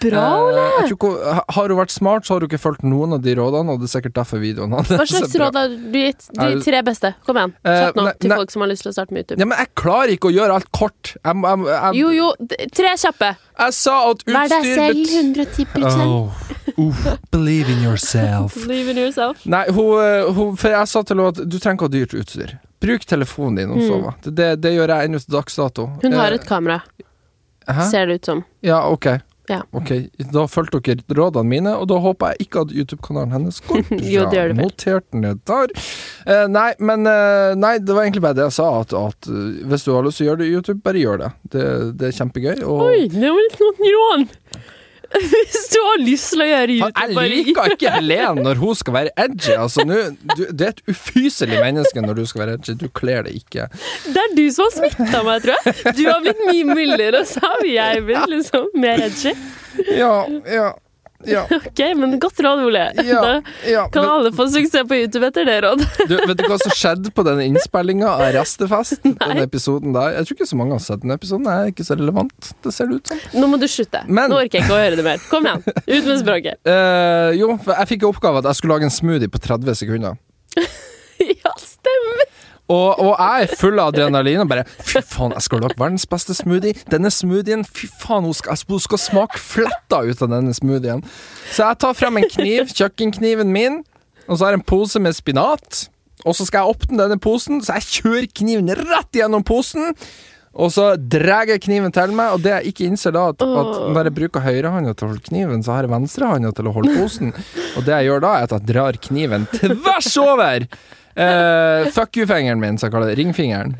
S2: Bra, Ole!
S1: Eh, jeg tror ikke hun- har hun vært smart, så har hun ikke fulgt noen av de rådene, og det er sikkert derfor videoen hans
S2: Hva
S1: er
S2: slags
S1: bra.
S2: råd har du gitt? De
S1: Er-
S2: tre beste. Kom igjen.
S1: Eh,
S2: Kjapt nå
S1: nei,
S2: til
S1: nei.
S2: folk som har lyst til å starte med YouTube.
S1: Ja, men jeg klarer ikke å gjøre alt kort. Jeg, må- jeg, må- jeg,
S2: Jo, jo, d- tre kjappe.
S1: jeg sa at utstyr
S2: Vær deg selv
S1: bet-
S2: 110
S1: Oh, oh, believe in yourself.
S2: Believe in yourself.
S1: Nei, hun, eh, hun, for jeg sa til henne at du trenger ikke ha dyrt utstyr. Bruk telefonen din når du
S2: Mm.
S1: sover. Det, det, det gjør jeg ennå til dags dato.
S2: Hun har
S1: Eh,
S2: et kamera,
S1: hæ?
S2: ser det ut som.
S1: Ja, ok.
S2: Ja.
S1: Ok, Da fulgte dere rådene mine, og da håper jeg ikke at YouTube-kanalen hennes går bra.
S2: Jo, det gjør det vel.
S1: Notert ned der. Eh, nei, men eh, Nei, det var egentlig bare det jeg sa, at, at eh, hvis du har lyst til å gjøre det i YouTube, bare gjør det. Det, det er kjempegøy. Og
S2: Oi, det var litt noen rån! Hvis du har lyst til å gjøre
S1: Faen,
S2: YouTube, bare
S1: Jeg liker ikke Helen når hun skal være edgy. Altså, nå- du, det er et ufyselig menneske når du skal være edgy. Du kler det ikke.
S2: Det er du som har smitta meg, tror jeg. Du har blitt mye mildere, og så har jeg blitt liksom mer edgy.
S1: Ja, ja, ja.
S2: Ok, men godt råd, Ole.
S1: Ja, ja.
S2: Da kan
S1: Men,
S2: alle få suksess på YouTube etter det råd.
S1: du, vet du hva som skjedde på den innspillinga av Restefest? Den episoden der. Jeg tror ikke så mange har sett den episoden. Den er ikke så relevant, det ser det ut som.
S2: Nå må du slutte.
S1: Men-
S2: Nå orker jeg ikke å høre det mer. Kom igjen. Ut med språket.
S1: Eh, jo, for jeg fikk i oppgave at jeg skulle lage en smoothie på 30 sekunder.
S2: Ja, stemmer!
S1: Og, og jeg er full av adrenalin og bare Fy faen, jeg skal lage verdens beste smoothie. Denne smoothien, fy faen, hun skal, hun skal smake fletta ut av denne smoothien. Så jeg tar frem en kniv, kjøkkenkniven min, og så har jeg en pose med spinat. Og så skal jeg åpne denne posen, så jeg kjører kniven rett gjennom posen. Og så drar jeg kniven til meg, og det jeg ikke innser da, at, at når jeg bruker høyrehånda til å holde kniven, så har jeg venstrehånda til å holde posen. Og det jeg gjør da, er at jeg drar kniven tvers over eh, fuck you-fingeren min, som jeg kaller det. Ringfingeren.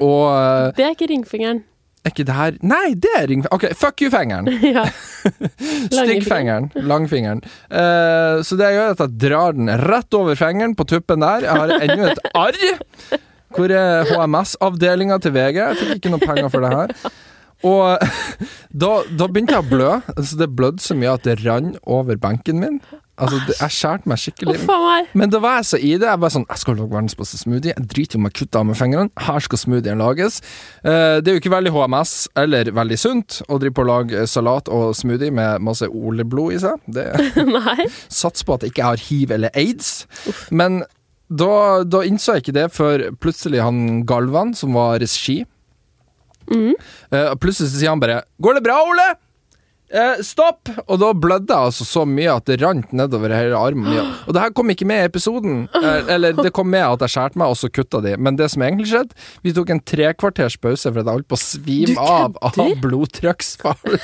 S1: Og eh,
S2: Det er ikke ringfingeren.
S1: er ikke det her Nei, det er ringfingeren. Ok, fuck you-fingeren.
S2: Ja.
S1: Styggfingeren. Langfingeren. Eh, så det jeg gjør, er at jeg drar den rett over fingeren på tuppen der. Jeg har ennå et arr. Hvor er HMS-avdelinga til VG? Jeg fikk ikke noe penger for det her. Og da, da begynte jeg å blø. Altså, det blødde så mye at det rant over benken min. Altså, det, jeg skjærte meg skikkelig.
S2: Huff a meg.
S1: Men da var jeg så i det. Jeg bare sånn, jeg skal lage verdens beste smoothie. Jeg driter i om jeg kutter av med fingrene. Her skal smoothien lages. Eh, det er jo ikke veldig HMS eller veldig sunt å drive på å lage salat og smoothie med masse oleblod i seg. Det
S2: Nei.
S1: Sats på at jeg ikke har hiv eller aids. Men da, da innså jeg ikke det før plutselig han Galvan, som var regi
S2: Mm.
S1: eh, og Plutselig så sier han bare 'Går det bra, Ole?' Eh, stopp! Og da blødde jeg altså så mye at det rant nedover hele armen. min. Og det her kom ikke med i episoden. Eh, eller det kom med at jeg skjærte meg, og så kutta de. Men det som egentlig skjedde, vi tok en trekvarters pause for at jeg holdt på å
S2: Du
S1: svime av
S2: kødder?
S1: av blodtrykksfall.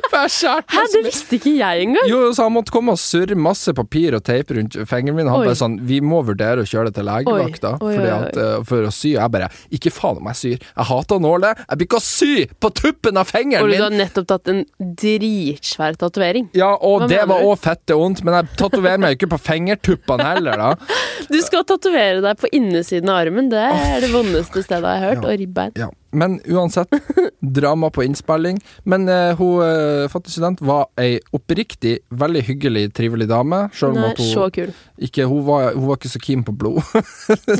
S1: for jeg skjærte meg
S2: Hæ, det visste ikke jeg engang.
S1: jo, så han måtte komme og surre masse papir og teip rundt fingeren min. Han
S2: Oi.
S1: bare sånn Vi må vurdere å kjøre det til legevakta
S2: Oi, oi,
S1: fordi
S2: oi,
S1: at, eh, for å sy. Jeg bare Ikke faen om jeg syr. Jeg hater nåler. Jeg blir ikke å sy på tuppen av fingeren
S2: Ole,
S1: min!
S2: du har nettopp tatt en dritsvær tatovering.
S1: Ja, og
S2: Hva
S1: det
S2: mener
S1: var
S2: du?
S1: òg fette vondt, men jeg tatoverer meg ikke på fingertuppene heller, da.
S2: Du skal tatovere deg på innesiden av armen. Det er det vondeste stedet jeg har hørt. Og ribbein.
S1: Ja. Men uansett, drama på innspilling. Men eh, hun eh, fattig student var ei oppriktig veldig hyggelig, trivelig dame, sjøl om
S2: Nei,
S1: at
S2: så
S1: hun
S2: kul.
S1: ikke Hun var, hun var ikke så keen på blod.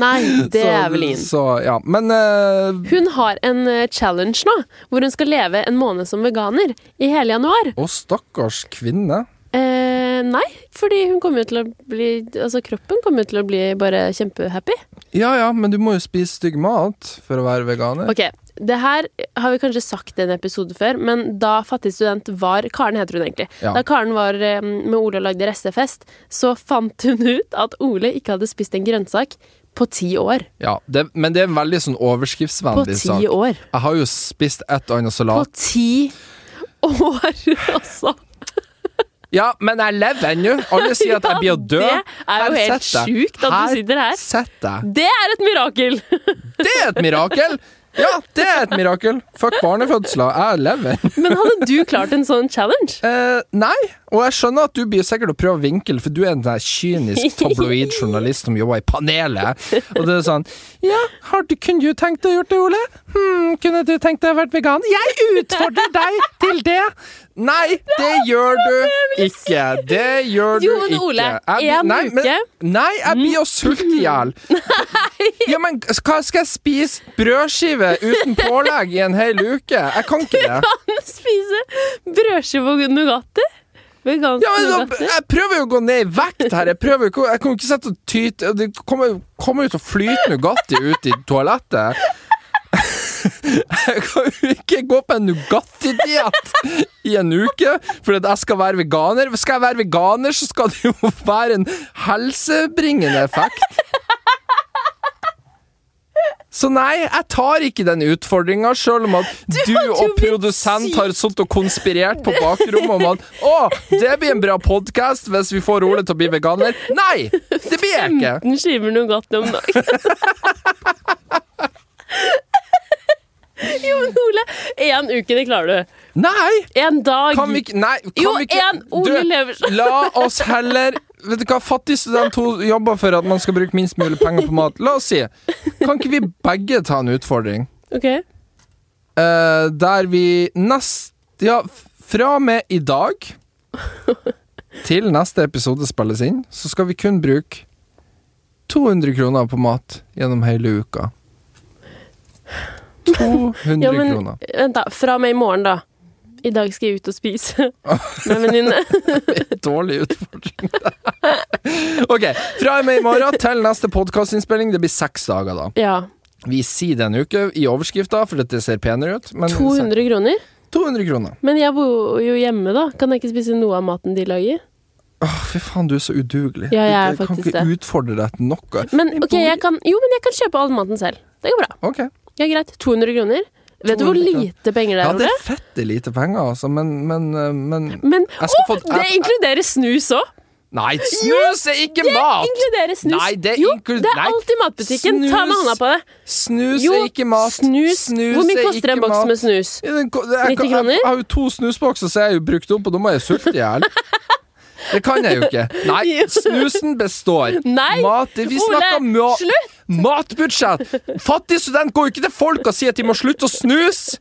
S2: Nei, det
S1: Så-
S2: er vel ingen.
S1: Så, ja. Men eh,
S2: Hun har en eh, challenge nå, hvor hun skal leve en måned som veganer i hele januar.
S1: Å, stakkars kvinne.
S2: Eh, nei, fordi hun kommer jo til å bli Altså, kroppen kommer jo til å bli bare kjempehappy.
S1: Ja ja, men du må jo spise stygg mat for å være veganer.
S2: Ok, det her har vi kanskje sagt i en episode før, men da Fattig student var Karen heter hun egentlig.
S1: Ja.
S2: Da Karen var eh, med Ole og lagde restefest, så fant hun ut at Ole ikke hadde spist en grønnsak På ti år.
S1: Ja, det, men det er en veldig sånn
S2: På
S1: overskriftsvennlig
S2: ti
S1: sak.
S2: år.
S1: Jeg har jo spist et og annet
S2: På
S1: salat.
S2: ti år, altså!
S1: Ja, men jeg lever ennå! Alle sier at jeg blir å dø.
S2: Ja, det er jo
S1: Her
S2: helt
S1: sitter jeg.
S2: sjukt at du sitter her.
S1: sitter jeg.
S2: Det er et mirakel!
S1: Det er et mirakel! Ja, det er et mirakel. Fuck barnefødsler, jeg lever.
S2: Men hadde du klart en sånn challenge?
S1: Eh, nei, og jeg skjønner at du blir sikkert å prøve å vinkle, for du er en der kynisk tabloid journalist som jobber i panelet. Og det er sånn Ja, har du, kunne du tenkt deg å gjort det, Ole? Hm, kunne du tenkt deg å vært vegan? Jeg utfordrer deg til det! Nei, det gjør du ikke. Det gjør du
S2: Jo,
S1: ikke.
S2: men Ole,
S1: Jeg blir-
S2: en
S1: nei, men-
S2: uke.
S1: Nei, jeg blir å sulte i hjel. Ja, men hva skal jeg spise? Brødskive uten pålegg i en hel uke? Jeg kan ikke det.
S2: Kan spise brødskive og Nugatti? Vegansk
S1: Ja, men da,
S2: Nugatti?
S1: jeg prøver jo å gå ned i vekt her. Jeg prøver jo ikke, jeg kan jo ikke sette og tyte Det kommer, jo- kommer jo til å flyte Nugatti ut i toalettet. Jeg kan jo ikke gå på en Nugatti-diett i en uke fordi at jeg skal være veganer. Skal jeg være veganer, så skal det jo være en helsebringende effekt. Så nei, jeg tar ikke den utfordringa, sjøl om at du, og
S2: jo blitt
S1: produsent
S2: syk.
S1: har sittet og konspirert på bakrommet om at 'Å, det blir en bra podkast hvis vi får Ole til å bli veganer'. Nei! Det blir jeg ikke.
S2: 15 skiver Nugatti om dagen. jo, men Ole, én uke, det klarer du.
S1: Nei!
S2: En dag.
S1: Kan vi ikke Nei, kan
S2: Jo,
S1: vi ikke
S2: en Ole
S1: Du,
S2: Leversen.
S1: La oss heller Vet du hva, fattig student to jobber for at man skal bruke minst mulig penger på mat. La oss si Kan ikke vi begge ta en utfordring
S2: Ok.
S1: eh, der vi nest Ja, f- fra og med i dag til neste episode spilles inn, så skal vi kun bruke 200 kroner på mat gjennom hele uka. 200
S2: Ja, men
S1: kroner.
S2: vent, da. Fra og med i morgen, da. I dag skal jeg ut og spise med en venninne.
S1: Dårlig utfordring. ok, fra og med i morgen til neste podkastinnspilling. Det blir seks dager, da.
S2: Ja.
S1: Vi sier det en uke i overskrifta, for det ser penere ut. Men
S2: 200 kroner.
S1: 200 kroner.
S2: Men jeg bor jo hjemme, da. Kan jeg ikke spise noe av maten de lager?
S1: Åh, fy faen, du er så udugelig.
S2: Ja, jeg er
S1: Du kan
S2: faktisk
S1: ikke
S2: det.
S1: utfordre deg til noe.
S2: Men
S1: Jeg
S2: ok,
S1: bor-
S2: jeg kan, jo, men jeg kan kjøpe all maten selv. Det går bra.
S1: Ok.
S2: Ja, greit. 200 kroner. Vet du hvor
S1: 200 kroner.
S2: lite penger det
S1: Ja,
S2: er,
S1: det
S2: Ole?
S1: er fette lite penger, altså, men, men, eh, men
S2: Men
S1: Jeg skal
S2: Å,
S1: få-
S2: det
S1: jeg-
S2: inkluderer snus òg!
S1: Nei, snus er ikke mat!
S2: Inkluderer snus.
S1: Nei, det
S2: jo,
S1: inklu-
S2: det er
S1: nei.
S2: alltid matbutikken. Ta med
S1: Snus.
S2: hånda på det.
S1: Snus
S2: Jo,
S1: er ikke mat.
S2: snus. Hvor mye
S1: er
S2: koster en
S1: ikke
S2: boks
S1: mat.
S2: med snus?
S1: Ja, den ko- jeg,
S2: 90
S1: jeg, jeg,
S2: kroner?
S1: har jo to snusbokser, så jeg er jo brukt opp, og da må jeg sulte i hjel. Det kan jeg jo ikke. Nei,
S2: Jo.
S1: snusen består.
S2: Nei,
S1: Mat, vi
S2: Ole,
S1: snakker ma
S2: slutt!
S1: matbudsjett. Fattig student går jo ikke til folk og sier at de må slutte å snuse.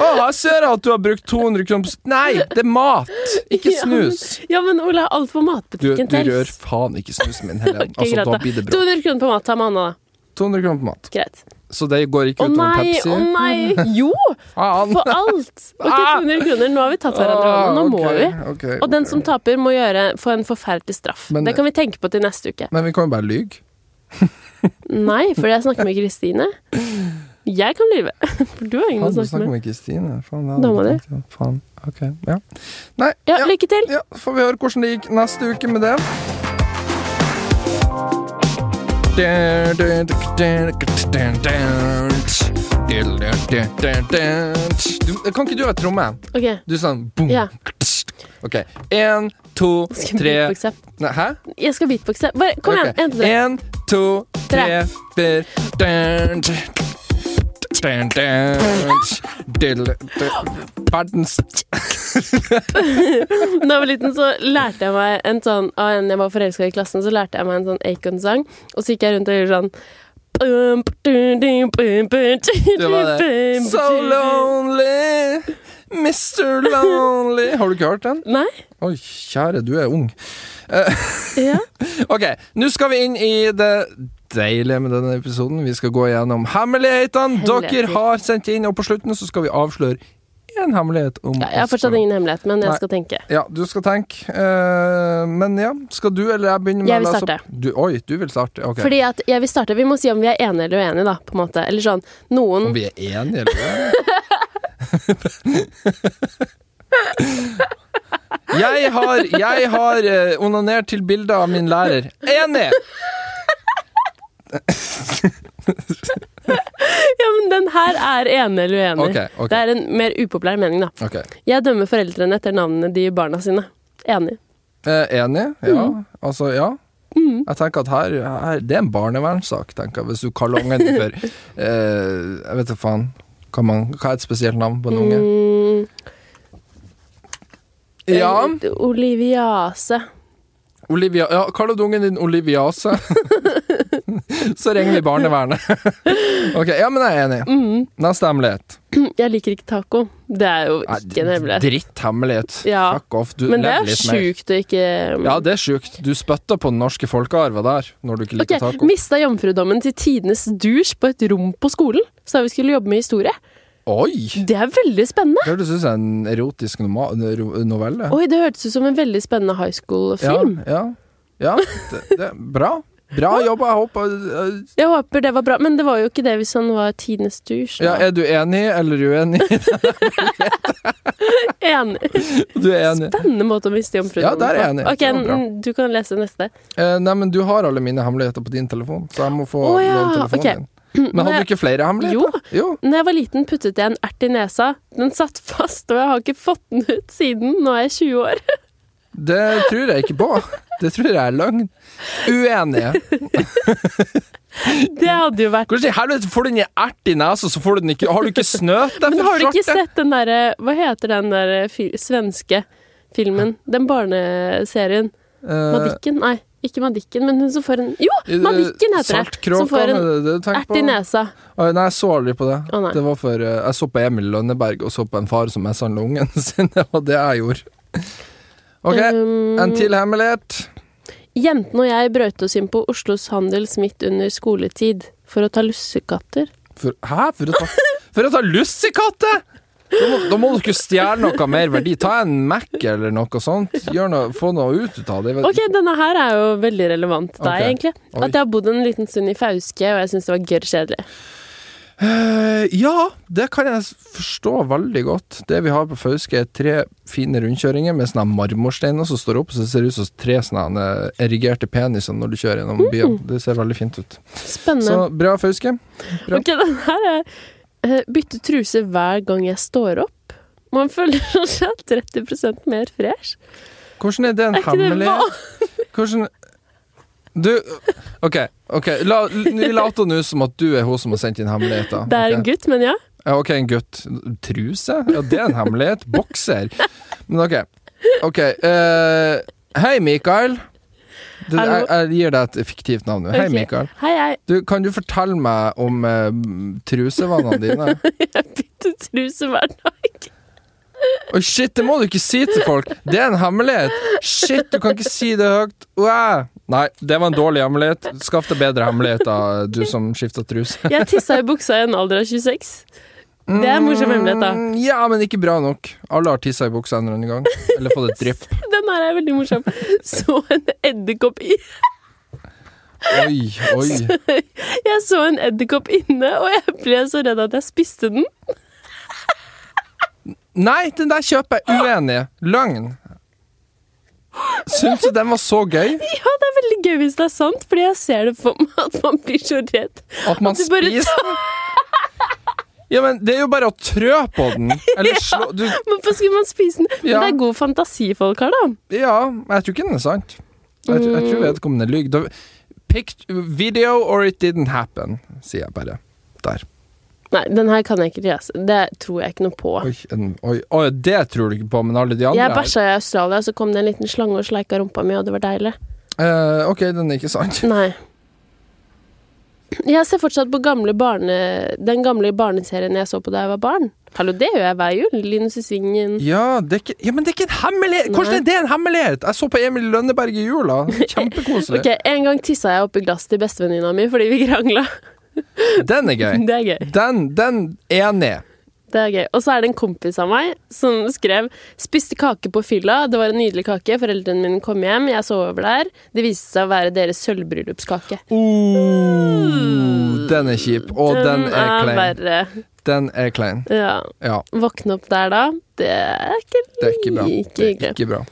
S1: Å, jeg ser at du har brukt 200 kroner på s- Nei, det er mat, ikke
S2: Ja, men-
S1: snus.
S2: Ja, men Ola, alt på
S1: Du,
S2: matbutikken
S1: du rør
S2: tels.
S1: faen ikke snusen min, Helen.
S2: Ok,
S1: Altså,
S2: greit,
S1: da
S2: da.
S1: blir det bra.
S2: 200 kroner på mat. Ta med hånda, da.
S1: 200 kroner på mat.
S2: Greit.
S1: Så det går ikke
S2: Å
S1: utover
S2: nei,
S1: Pepsi.
S2: å nei. Jo!
S1: Faen.
S2: For alt. Ok,
S1: Ah.
S2: 200 kroner. Nå har vi tatt hverandre i hånda. Nå må
S1: Ah, ok,
S2: vi.
S1: ok,
S2: Og den
S1: ok.
S2: som taper, må gjøre, få en forferdelig straff.
S1: Men-
S2: det kan vi tenke på til neste uke.
S1: Men vi kan jo bare lyge.
S2: Nei, for jeg snakker med Kristine. Jeg kan lyve. For du har ingen å
S1: Faen, du
S2: snakke
S1: snakker
S2: med.
S1: med Kristine. Faen, det
S2: Dama
S1: hadde jeg ikke tenkt, ja. Faen. Ok, ja. Nei,
S2: Ja,
S1: ja,
S2: lykke til.
S1: ja, får vi høre hvordan det gikk neste uke med det. Du, kan ikke du ha tromme?
S2: Ok.
S1: Du er sånn boom.
S2: Ja.
S1: Ok. Én, to,
S2: Skal jeg
S1: tre
S2: beatboxe?
S1: Nei, Hæ?
S2: Jeg skal beatboxe. Bare, kom igjen.
S1: Ok.
S2: En til tre.
S1: En, to, tre,
S2: Tre.
S1: fire Dun, dun, dun, dun, diddle, dun. Verdens
S2: Da jeg var liten, så lærte jeg meg en sånn Av en jeg var forelska i klassen, så lærte jeg meg en sånn Acon-sang. Og så gikk jeg rundt og gjorde sånn
S1: Det var det. So lonely, Mr. Lonely Har du ikke hørt den?
S2: Nei?
S1: Oi, kjære, du er ung.
S2: Ja.
S1: Ok, nå skal vi inn i det deilige med denne episoden. Vi skal gå gjennom hemmelighetene dere
S2: Hemmeligheter.
S1: har sendt inn, og på slutten så skal vi avsløre én hemmelighet om
S2: Ja, Jeg har fortsatt ingen hemmelighet, men
S1: Nei.
S2: jeg skal tenke.
S1: Ja, du skal tenke. eh, men ja, skal du eller jeg begynne med
S2: Jeg
S1: å
S2: vil
S1: lese
S2: starte.
S1: opp? Du, oi, du vil starte? Ok.
S2: Fordi at jeg vil starte, Vi må si om vi er enige eller uenige, da. på en måte. Eller sånn, noen
S1: Om vi er enige, eller? jeg har, jeg har eh, onanert til bilder av min lærer. Enig!
S2: Ja, men den her er enig eller uenig.
S1: Ok, ok.
S2: Det er en mer upopulær mening, da.
S1: Ok.
S2: Jeg dømmer foreldrene etter navnene de gir barna sine. Enig.
S1: Eh, enig. Ja.
S2: Mm.
S1: Altså, ja. Jeg tenker at her, her Det er en barnevernssak, tenker jeg, hvis du kaller ungen din for eh, Jeg vet da faen. Hva, man, hva er et spesielt navn på en unge?
S2: Mm,
S1: Ja,
S2: eh, Oliviase.
S1: Olivia Ja, kaller du ungen din Oliviase, så ringer vi barnevernet. ok, ja, men jeg er enig.
S2: Mhm.
S1: Neste hemmelighet.
S2: Jeg liker ikke taco. Det er jo
S1: Nei,
S2: ikke en hemmelighet.
S1: Dritt hemmelighet.
S2: Ja.
S1: Fuck off. Du
S2: Men det
S1: lever
S2: er
S1: litt mer.
S2: sjukt å ikke
S1: Ja, det er sjukt. Du spytter på den norske folkearven der, når du ikke
S2: Ok,
S1: liker taco.
S2: Mista jomfrudommen til tidenes dusj på et rom på skolen. Sa vi skulle jobbe med historie.
S1: Oi!
S2: Det er veldig spennende.
S1: Det hørtes ut som en erotisk noma- ro- novelle.
S2: Oi, det hørtes ut som en veldig spennende high school-film.
S1: Ja, ja, ja det, det, bra. Bra jobba. Jeg håper øh,
S2: Jeg håper det var bra, men det var jo ikke det hvis han var tidenes dusj.
S1: ja,
S2: da.
S1: Er du enig eller uenig?
S2: Enig.
S1: Du er enig.
S2: Spennende måte å miste jomfrudommen
S1: Ja, der er jeg enig.
S2: Ok,
S1: Det var bra.
S2: Du kan lese neste.
S1: Eh, nei, men du har alle mine hemmeligheter på din telefon, så jeg må få
S2: Å, ja,
S1: låne telefonen
S2: ok.
S1: din. Men
S2: Men
S1: hadde
S2: jeg-
S1: du ikke flere hemmeligheter? Jo.
S2: Når jeg var liten, puttet jeg en ert i nesa. Den satt fast, og jeg har ikke fått den ut siden. Nå er jeg 20 år.
S1: Det tror jeg ikke på. Det tror jeg er løgn. Uenig.
S2: Det hadde jo vært
S1: Hvordan i helvete får du den i ert i nesa, så får du den ikke Har du ikke snøt deg
S2: Men har du ikke
S1: skjorte?
S2: sett den derre Hva heter den derre fi- svenske filmen? Den barneserien? Madikken? Nei, ikke Madikken, men hun som får en Jo,
S1: Eh,
S2: Madikken heter det!
S1: Saltkråka,
S2: Som får en
S1: det er det du tenker
S2: ert i
S1: på?
S2: nesa.
S1: Oi, Nei, jeg så aldri på det.
S2: Å, nei.
S1: det var for, eh, jeg så på Emil Lønneberg og så på en far som messa ungen sin. Det var det jeg gjorde. Ok,
S2: Um,
S1: en til hemmelighet.
S2: Jentene og jeg brøt oss inn på Oslos Handels midt under skoletid for å ta lussekatter.
S1: For, hæ? For å ta, for å ta lussekatter?! Da må, da må dere stjele noe mer verdi. Ta en Mac eller noe sånt. Gjør noe, få noe ut ut av det.
S2: Ok, denne her er jo veldig relevant til deg,
S1: Ok.
S2: egentlig.
S1: Oi.
S2: At jeg har bodd en liten stund i Fauske, og jeg syns det var gørr kjedelig.
S1: Eh, ja, det kan jeg s- forstå veldig godt. Det vi har på Fauske er tre fine rundkjøringer med sånne marmorsteiner som står opp, så det ser ut som tre sånne erigerte peniser når du kjører gjennom byen. Det ser veldig fint ut.
S2: Spennende.
S1: Så bra Fauske. bra.
S2: Ok, den her er eh, Bytte truse hver gang jeg står opp. Man føler seg 30 mer fresh.
S1: Hvordan er det en
S2: Er ikke det
S1: hemmelig Hvordan Du, OK. ok La, vi later nå som at du er hun som har sendt inn hemmeligheter.
S2: Det er en
S1: Ok.
S2: gutt, men ja.
S1: Ja, ok, en gutt. Truse? Ja, det er en hemmelighet. Bokser. Men ok. Ok. eh, hei, Mikael. Du, jeg,
S2: Hallo.
S1: jeg gir deg et fiktivt navn nå. Hei,
S2: Ok.
S1: Mikael.
S2: Hei, hei.
S1: Du, kan du fortelle meg om eh, trusevanene dine? Oi,
S2: Jeg bytter truse hver dag.
S1: shit, det må du ikke si til folk! Det er en hemmelighet! Shit, du kan ikke si det høyt! Wow. Nei, det var en dårlig hemmelighet. Skaff deg bedre hemmeligheter, du som skifter truse.
S2: Jeg tissa i buksa i en alder av 26. Det er en morsom hemmelighet, da.
S1: Mm, Ja, men ikke bra nok. Alle har tissa i buksa en eller annen gang. Eller fått et drypp.
S2: Den her er veldig morsom. Så en edderkopp i
S1: Oi, oi.
S2: Jeg så en edderkopp inne, og jeg ble så redd at jeg spiste den.
S1: Nei, den der kjøper jeg uenig. Løgn. Syns du den var så gøy
S2: Ja, det er veldig gøy hvis det er sant, fordi jeg ser det for meg at man blir så redd.
S1: at man
S2: Du bare
S1: spiser den? Ja, men det er jo bare å trø på den. Eller slå du,
S2: Hvorfor skulle man spise den? Men
S1: Ja.
S2: det er god fantasi folk har, da.
S1: Ja, men jeg tror ikke den er sant. Jeg, tr- jeg
S2: Mm.
S1: tror vedkommende lyver. Da- pict- Video or it didn't happen, sier jeg bare. Der.
S2: Nei, den her kan jeg ikke lese. Det tror jeg ikke noe på.
S1: Oi, en, oi, oi, det tror du ikke på, men alle de andre
S2: Jeg
S1: her
S2: bæsja i Australia, så kom det en liten slange og sleika rumpa mi, og det var deilig.
S1: Eh, Ok, den er ikke sant.
S2: Nei. Jeg ser fortsatt på gamle barne, den gamle barneserien jeg så på da jeg var barn. Hallo, det gjør jeg hver jul. Linus i Svingen.
S1: Ja, det er ikke, ja, men det er ikke en hemmelighet! Hvordan er det en hemmelighet?! Jeg så på Emil i Lønneberg i jula. Kjempekoselig.
S2: Ok, En gang tissa jeg oppi glass til bestevenninna mi fordi vi krangla.
S1: Den er gøy.
S2: Det er gøy.
S1: Den, den enig.
S2: det er gøy. Og så er det en kompis av meg som skrev 'Spiste kake på fylla. Det var en nydelig kake. Foreldrene mine kom hjem. Jeg sov over der. Det viste seg å være deres sølvbryllupskake.
S1: Oh, den er kjip, og den, er klein.
S2: verre.
S1: Den er klein.
S2: Mm, Ja.
S1: Ja,
S2: Våkne opp der da, det er ikke
S1: det er ikke bra.
S2: like
S1: Det er
S2: hyggelig.
S1: ikke bra.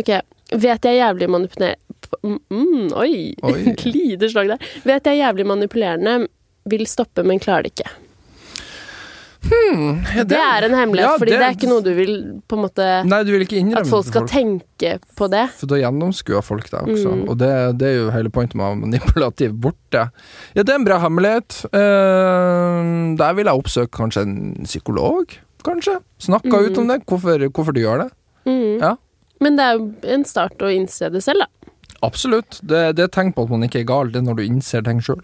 S2: Ok. Vet jeg er jævlig manipuler på mm, mm, Oi!
S1: Oi.
S2: Glider slag der. Vet jeg er jævlig manipulerende, vil stoppe, men klarer det ikke.
S1: Hmm,
S2: Det er en hemmelighet,
S1: Ja,
S2: fordi
S1: det-
S2: det er ikke noe du vil på en måte
S1: Nei, du vil ikke innrømme
S2: At folk skal tenke på det.
S1: For da gjennomskuer folk deg også,
S2: Mm.
S1: og det, det er jo hele pointet med manipulativ borte. Ja, det er en bra hemmelighet. Eh, der vil jeg oppsøke kanskje en psykolog, kanskje. Snakke
S2: Mm.
S1: ut om det, hvorfor, hvorfor du gjør det.
S2: Mm.
S1: Ja.
S2: Men det er jo en start å innse det selv, da.
S1: Absolutt. Det, det er tegn på at man ikke er gal, det er når du innser ting sjøl.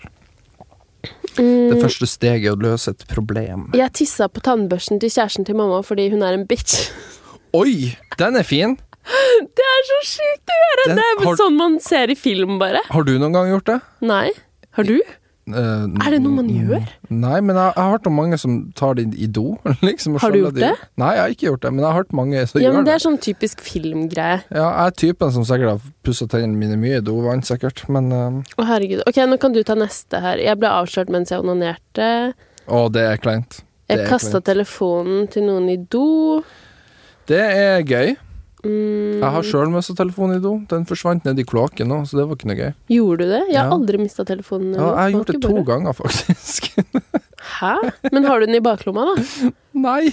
S1: Det
S2: Mm.
S1: første steget er å løse et problem.
S2: Jeg tissa på tannbørsten til kjæresten til mamma fordi hun er en bitch.
S1: Oi, den er fin!
S2: Det er så sjukt å gjøre!
S1: Den
S2: det er vel
S1: har-
S2: sånn man ser i film, bare.
S1: Har du noen gang gjort det?
S2: Nei. Har du?
S1: Eh,
S2: Er det noe man gjør?
S1: Nei, men jeg, jeg har hørt om mange som tar det i do. Liksom, og
S2: Har du
S1: skjøller
S2: gjort
S1: de-
S2: det?
S1: Nei, jeg har ikke gjort det, men jeg har hørt mange som
S2: Ja,
S1: gjør
S2: men det er sånn typisk filmgreie.
S1: Ja, jeg er typen som sikkert har pussa tennene mine mye i dovann, sikkert, men eh,
S2: Å, herregud. Ok, nå kan du ta neste her. Jeg ble avslørt mens jeg onanerte.
S1: Å, det er kleint. Det
S2: Jeg
S1: er
S2: kasta
S1: kleint.
S2: telefonen til noen i do.
S1: Det er gøy.
S2: Mm.
S1: Jeg har sjøl mista telefonen i do. Den forsvant ned i kloakken nå, så det var ikke noe gøy.
S2: Gjorde du det? Jeg har
S1: Ja.
S2: aldri mista telefonen.
S1: Ja, jeg har gjort det to
S2: Bakebordet.
S1: ganger, faktisk.
S2: Hæ? Men har du den i baklomma, da?
S1: Nei.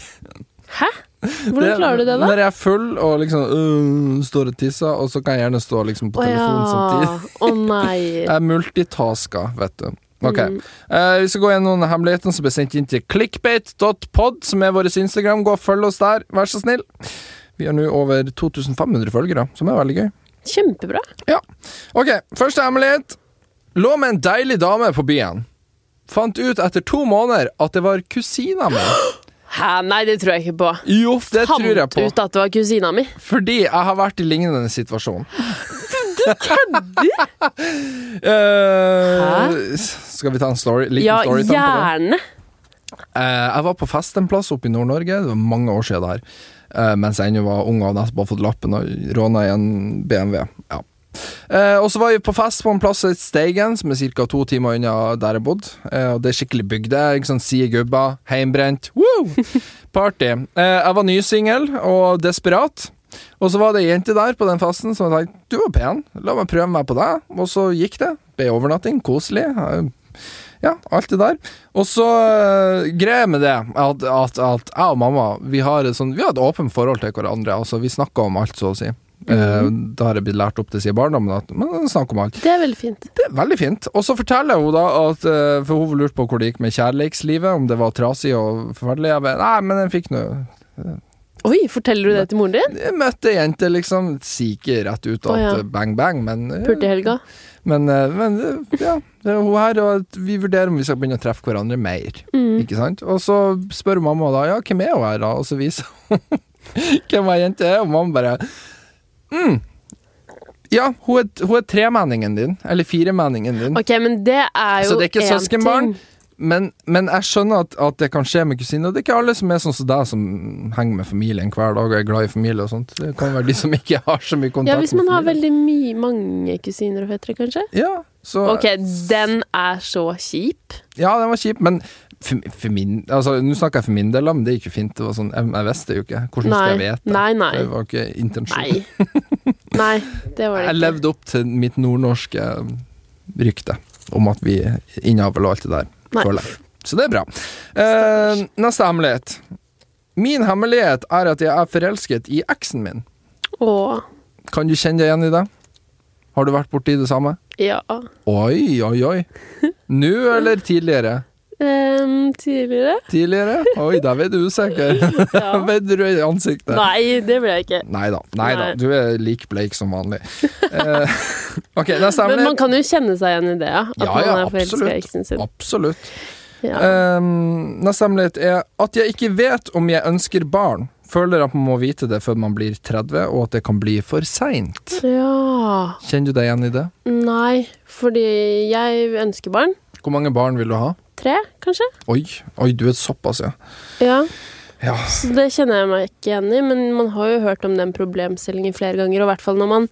S2: Hæ? Hvordan klarer du det, da?
S1: Når jeg er full og liksom øh, står og tisser, og så kan jeg gjerne stå liksom på
S2: Å
S1: telefonen samtidig.
S2: ja. Å nei.
S1: Jeg er multitaska, vet du. Ok,
S2: Mm.
S1: Eh, Vi skal gå gjennom hemmeligheten som ble sendt inn til clickbait.pod, som er vår Instagram. Gå og følg oss der, vær så snill. Vi har nå over 2500 følgere, som er veldig gøy.
S2: Kjempebra.
S1: Ok, første hemmelighet. Lå med en deilig dame på byen. Fant ut etter to måneder at det var kusina mi.
S2: Hæ? Nei, det tror jeg ikke på.
S1: Jo, det
S2: Fant
S1: tror jeg på.
S2: ut at det var kusina mi.
S1: Fordi jeg har vært i lignende situasjon. Du
S2: Hæ?
S1: kødder?! Eh, skal vi ta en story, liten
S2: Ja,
S1: storytime på det?
S2: gjerne.
S1: Eh, jeg var på fest en plass oppe i Nord-Norge, det var mange år siden der. Eh, mens jeg ennå var ung og hadde nettopp fått lappen og råna i en BMW. Ja. Eh, og så var vi på fest på en plass i Steigen, som er ca. to timer unna der jeg bodde. Eh, og det er skikkelig bygde. Ikke sånn Sie gubba, heimbrent, woo! Party. Eh, jeg var nysingel og desperat. Og så var det ei jente der på den festen som jeg tenkte du var pen, la meg prøve meg på deg. Og så gikk det. Ble overnatting, koselig. Eh, Ja, alt det der. Og så uh, greia med det at, at, at jeg og mamma vi har et, sånn, vi har et åpent forhold til hverandre. Altså, vi snakker om alt, så å si. Eh,
S2: Mhm.
S1: da har jeg blitt lært opp til siden barndommen at man snakker om alt.
S2: Det er veldig fint.
S1: Det er veldig fint. Og så forteller hun da at eh, For hun lurte på hvor det gikk med kjærlighetslivet, om det var trasig og forferdelig. Jeg bare, Nei, men jeg fikk nå
S2: Oi, forteller du det til moren din?
S1: Jeg møtte ei jente, liksom. Sier ikke rett ut at
S2: Å, ja.
S1: eh, bang, bang, men eh,
S2: Pulte i helga.
S1: Men, eh, men eh, ja, det er hun her, og at vi vurderer om vi skal begynne å treffe hverandre mer.
S2: Mm.
S1: Ikke sant? Og så spør mamma da Ja, hvem er hun her da? Og så viser hun hvem ei jente er, og mamma bare mm. Ja, hun er, hun er tremenningen din. Eller firemenningen din.
S2: Ok, men det er jo
S1: Så det er ikke
S2: én
S1: søskenbarn?
S2: ting.
S1: Men, men jeg skjønner at, at det kan skje med kusiner. Og det er ikke alle som er sånn som deg, som henger med familien hver dag og er glad i familie og sånt. Det kan være de som ikke har så mye kontakt
S2: Ja, hvis man har
S1: med familien.
S2: veldig mye, mange kusiner og fettere, kanskje.
S1: Ja, så
S2: Ok, den er så kjip.
S1: Ja, den var kjip, men for, for min Altså, nå snakker jeg for min del, da, men det gikk jo fint. Det var sånn, jeg, jeg visste jo ikke. Hvordan skal
S2: Nei.
S1: jeg vite det?
S2: Nei, nei.
S1: Det var ikke intensjonen.
S2: Nei. Nei, det var
S1: Jeg
S2: det ikke.
S1: levde opp til mitt nordnorske um, rykte om at vi innavler og alt det der.
S2: Nei.
S1: føler jeg. Så det er bra. Eh, neste hemmelighet. Min hemmelighet er at jeg er forelsket i eksen min.
S2: Åh,
S1: Kan du kjenne deg igjen i det? Har du vært borti det samme?
S2: ja.
S1: Oi, oi, oi. Nå eller tidligere?
S2: Ehm, tidligere?
S1: Tidligere? Oi, der ble du usikker.
S2: Ja.
S1: Der ble du rød i ansiktet.
S2: Nei, det ble jeg ikke.
S1: Nei da. Nei da.
S2: Nei.
S1: Du er lik bleik som vanlig. Eh, ok, neste
S2: Men man
S1: hemmelighet.
S2: kan jo kjenne seg igjen i det, ja. At
S1: Ja,
S2: man
S1: ja,
S2: er forelska
S1: absolutt.
S2: i eksen sin.
S1: Absolutt.
S2: Ja.
S1: Um, neste hemmelighet er at jeg ikke vet om jeg ønsker barn. Føler at man må vite det før man blir 30, og at det kan bli for seint.
S2: ja.
S1: Kjenner du deg igjen i det?
S2: Nei, fordi jeg ønsker barn.
S1: Hvor mange barn vil du ha?
S2: Tre, kanskje?
S1: Oi, oi du er såpass, ja.
S2: Ja.
S1: Ja,
S2: Så det kjenner jeg meg ikke igjen i, men man har jo hørt om den problemstillingen flere ganger, og i hvert fall når man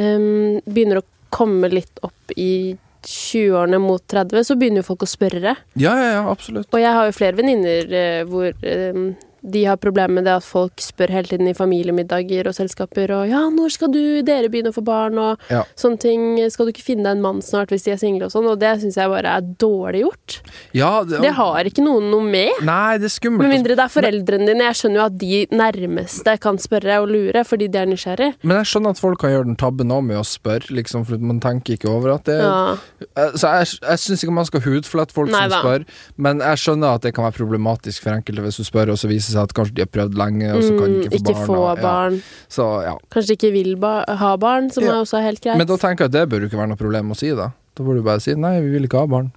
S2: øhm, begynner å komme litt opp i 20-årene mot 30, så begynner jo folk å spørre.
S1: ja, ja, ja absolutt.
S2: Og jeg har jo flere venninner eh, hvor øhm, de har problemer med det at folk spør hele tiden i familiemiddager og selskaper og 'ja, når skal du, dere begynne å få barn', og
S1: Ja.
S2: sånne ting. 'Skal du ikke finne deg en mann snart hvis de er single', og sånn. Og det syns jeg bare er dårlig gjort.
S1: Ja,
S2: Det har ikke noen noe med.
S1: Nei, det er skummelt.
S2: Med mindre det er foreldrene dine. Jeg skjønner jo at de nærmeste kan spørre og lure, fordi de er nysgjerrig.
S1: Men jeg skjønner at folk kan gjøre den tabben òg med å spørre, liksom, for man tenker ikke over at det
S2: Ja.
S1: Eh, Så jeg, jeg syns ikke man skal hudflette folk som
S2: Nei da.
S1: spør, men jeg skjønner at det kan være problematisk for enkelte hvis du spør, og så viser det seg at kanskje de har prøvd lenge, og så kan de
S2: Mm,
S1: ikke få barn. og-
S2: barn.
S1: Ja. Så, ja.
S2: Kanskje de ikke vil ba ha barn, som
S1: Ja.
S2: er også helt greit.
S1: Men da tenker jeg at det bør jo ikke være noe problem å si, da. Da burde du bare si nei, vi vil ikke ha barn.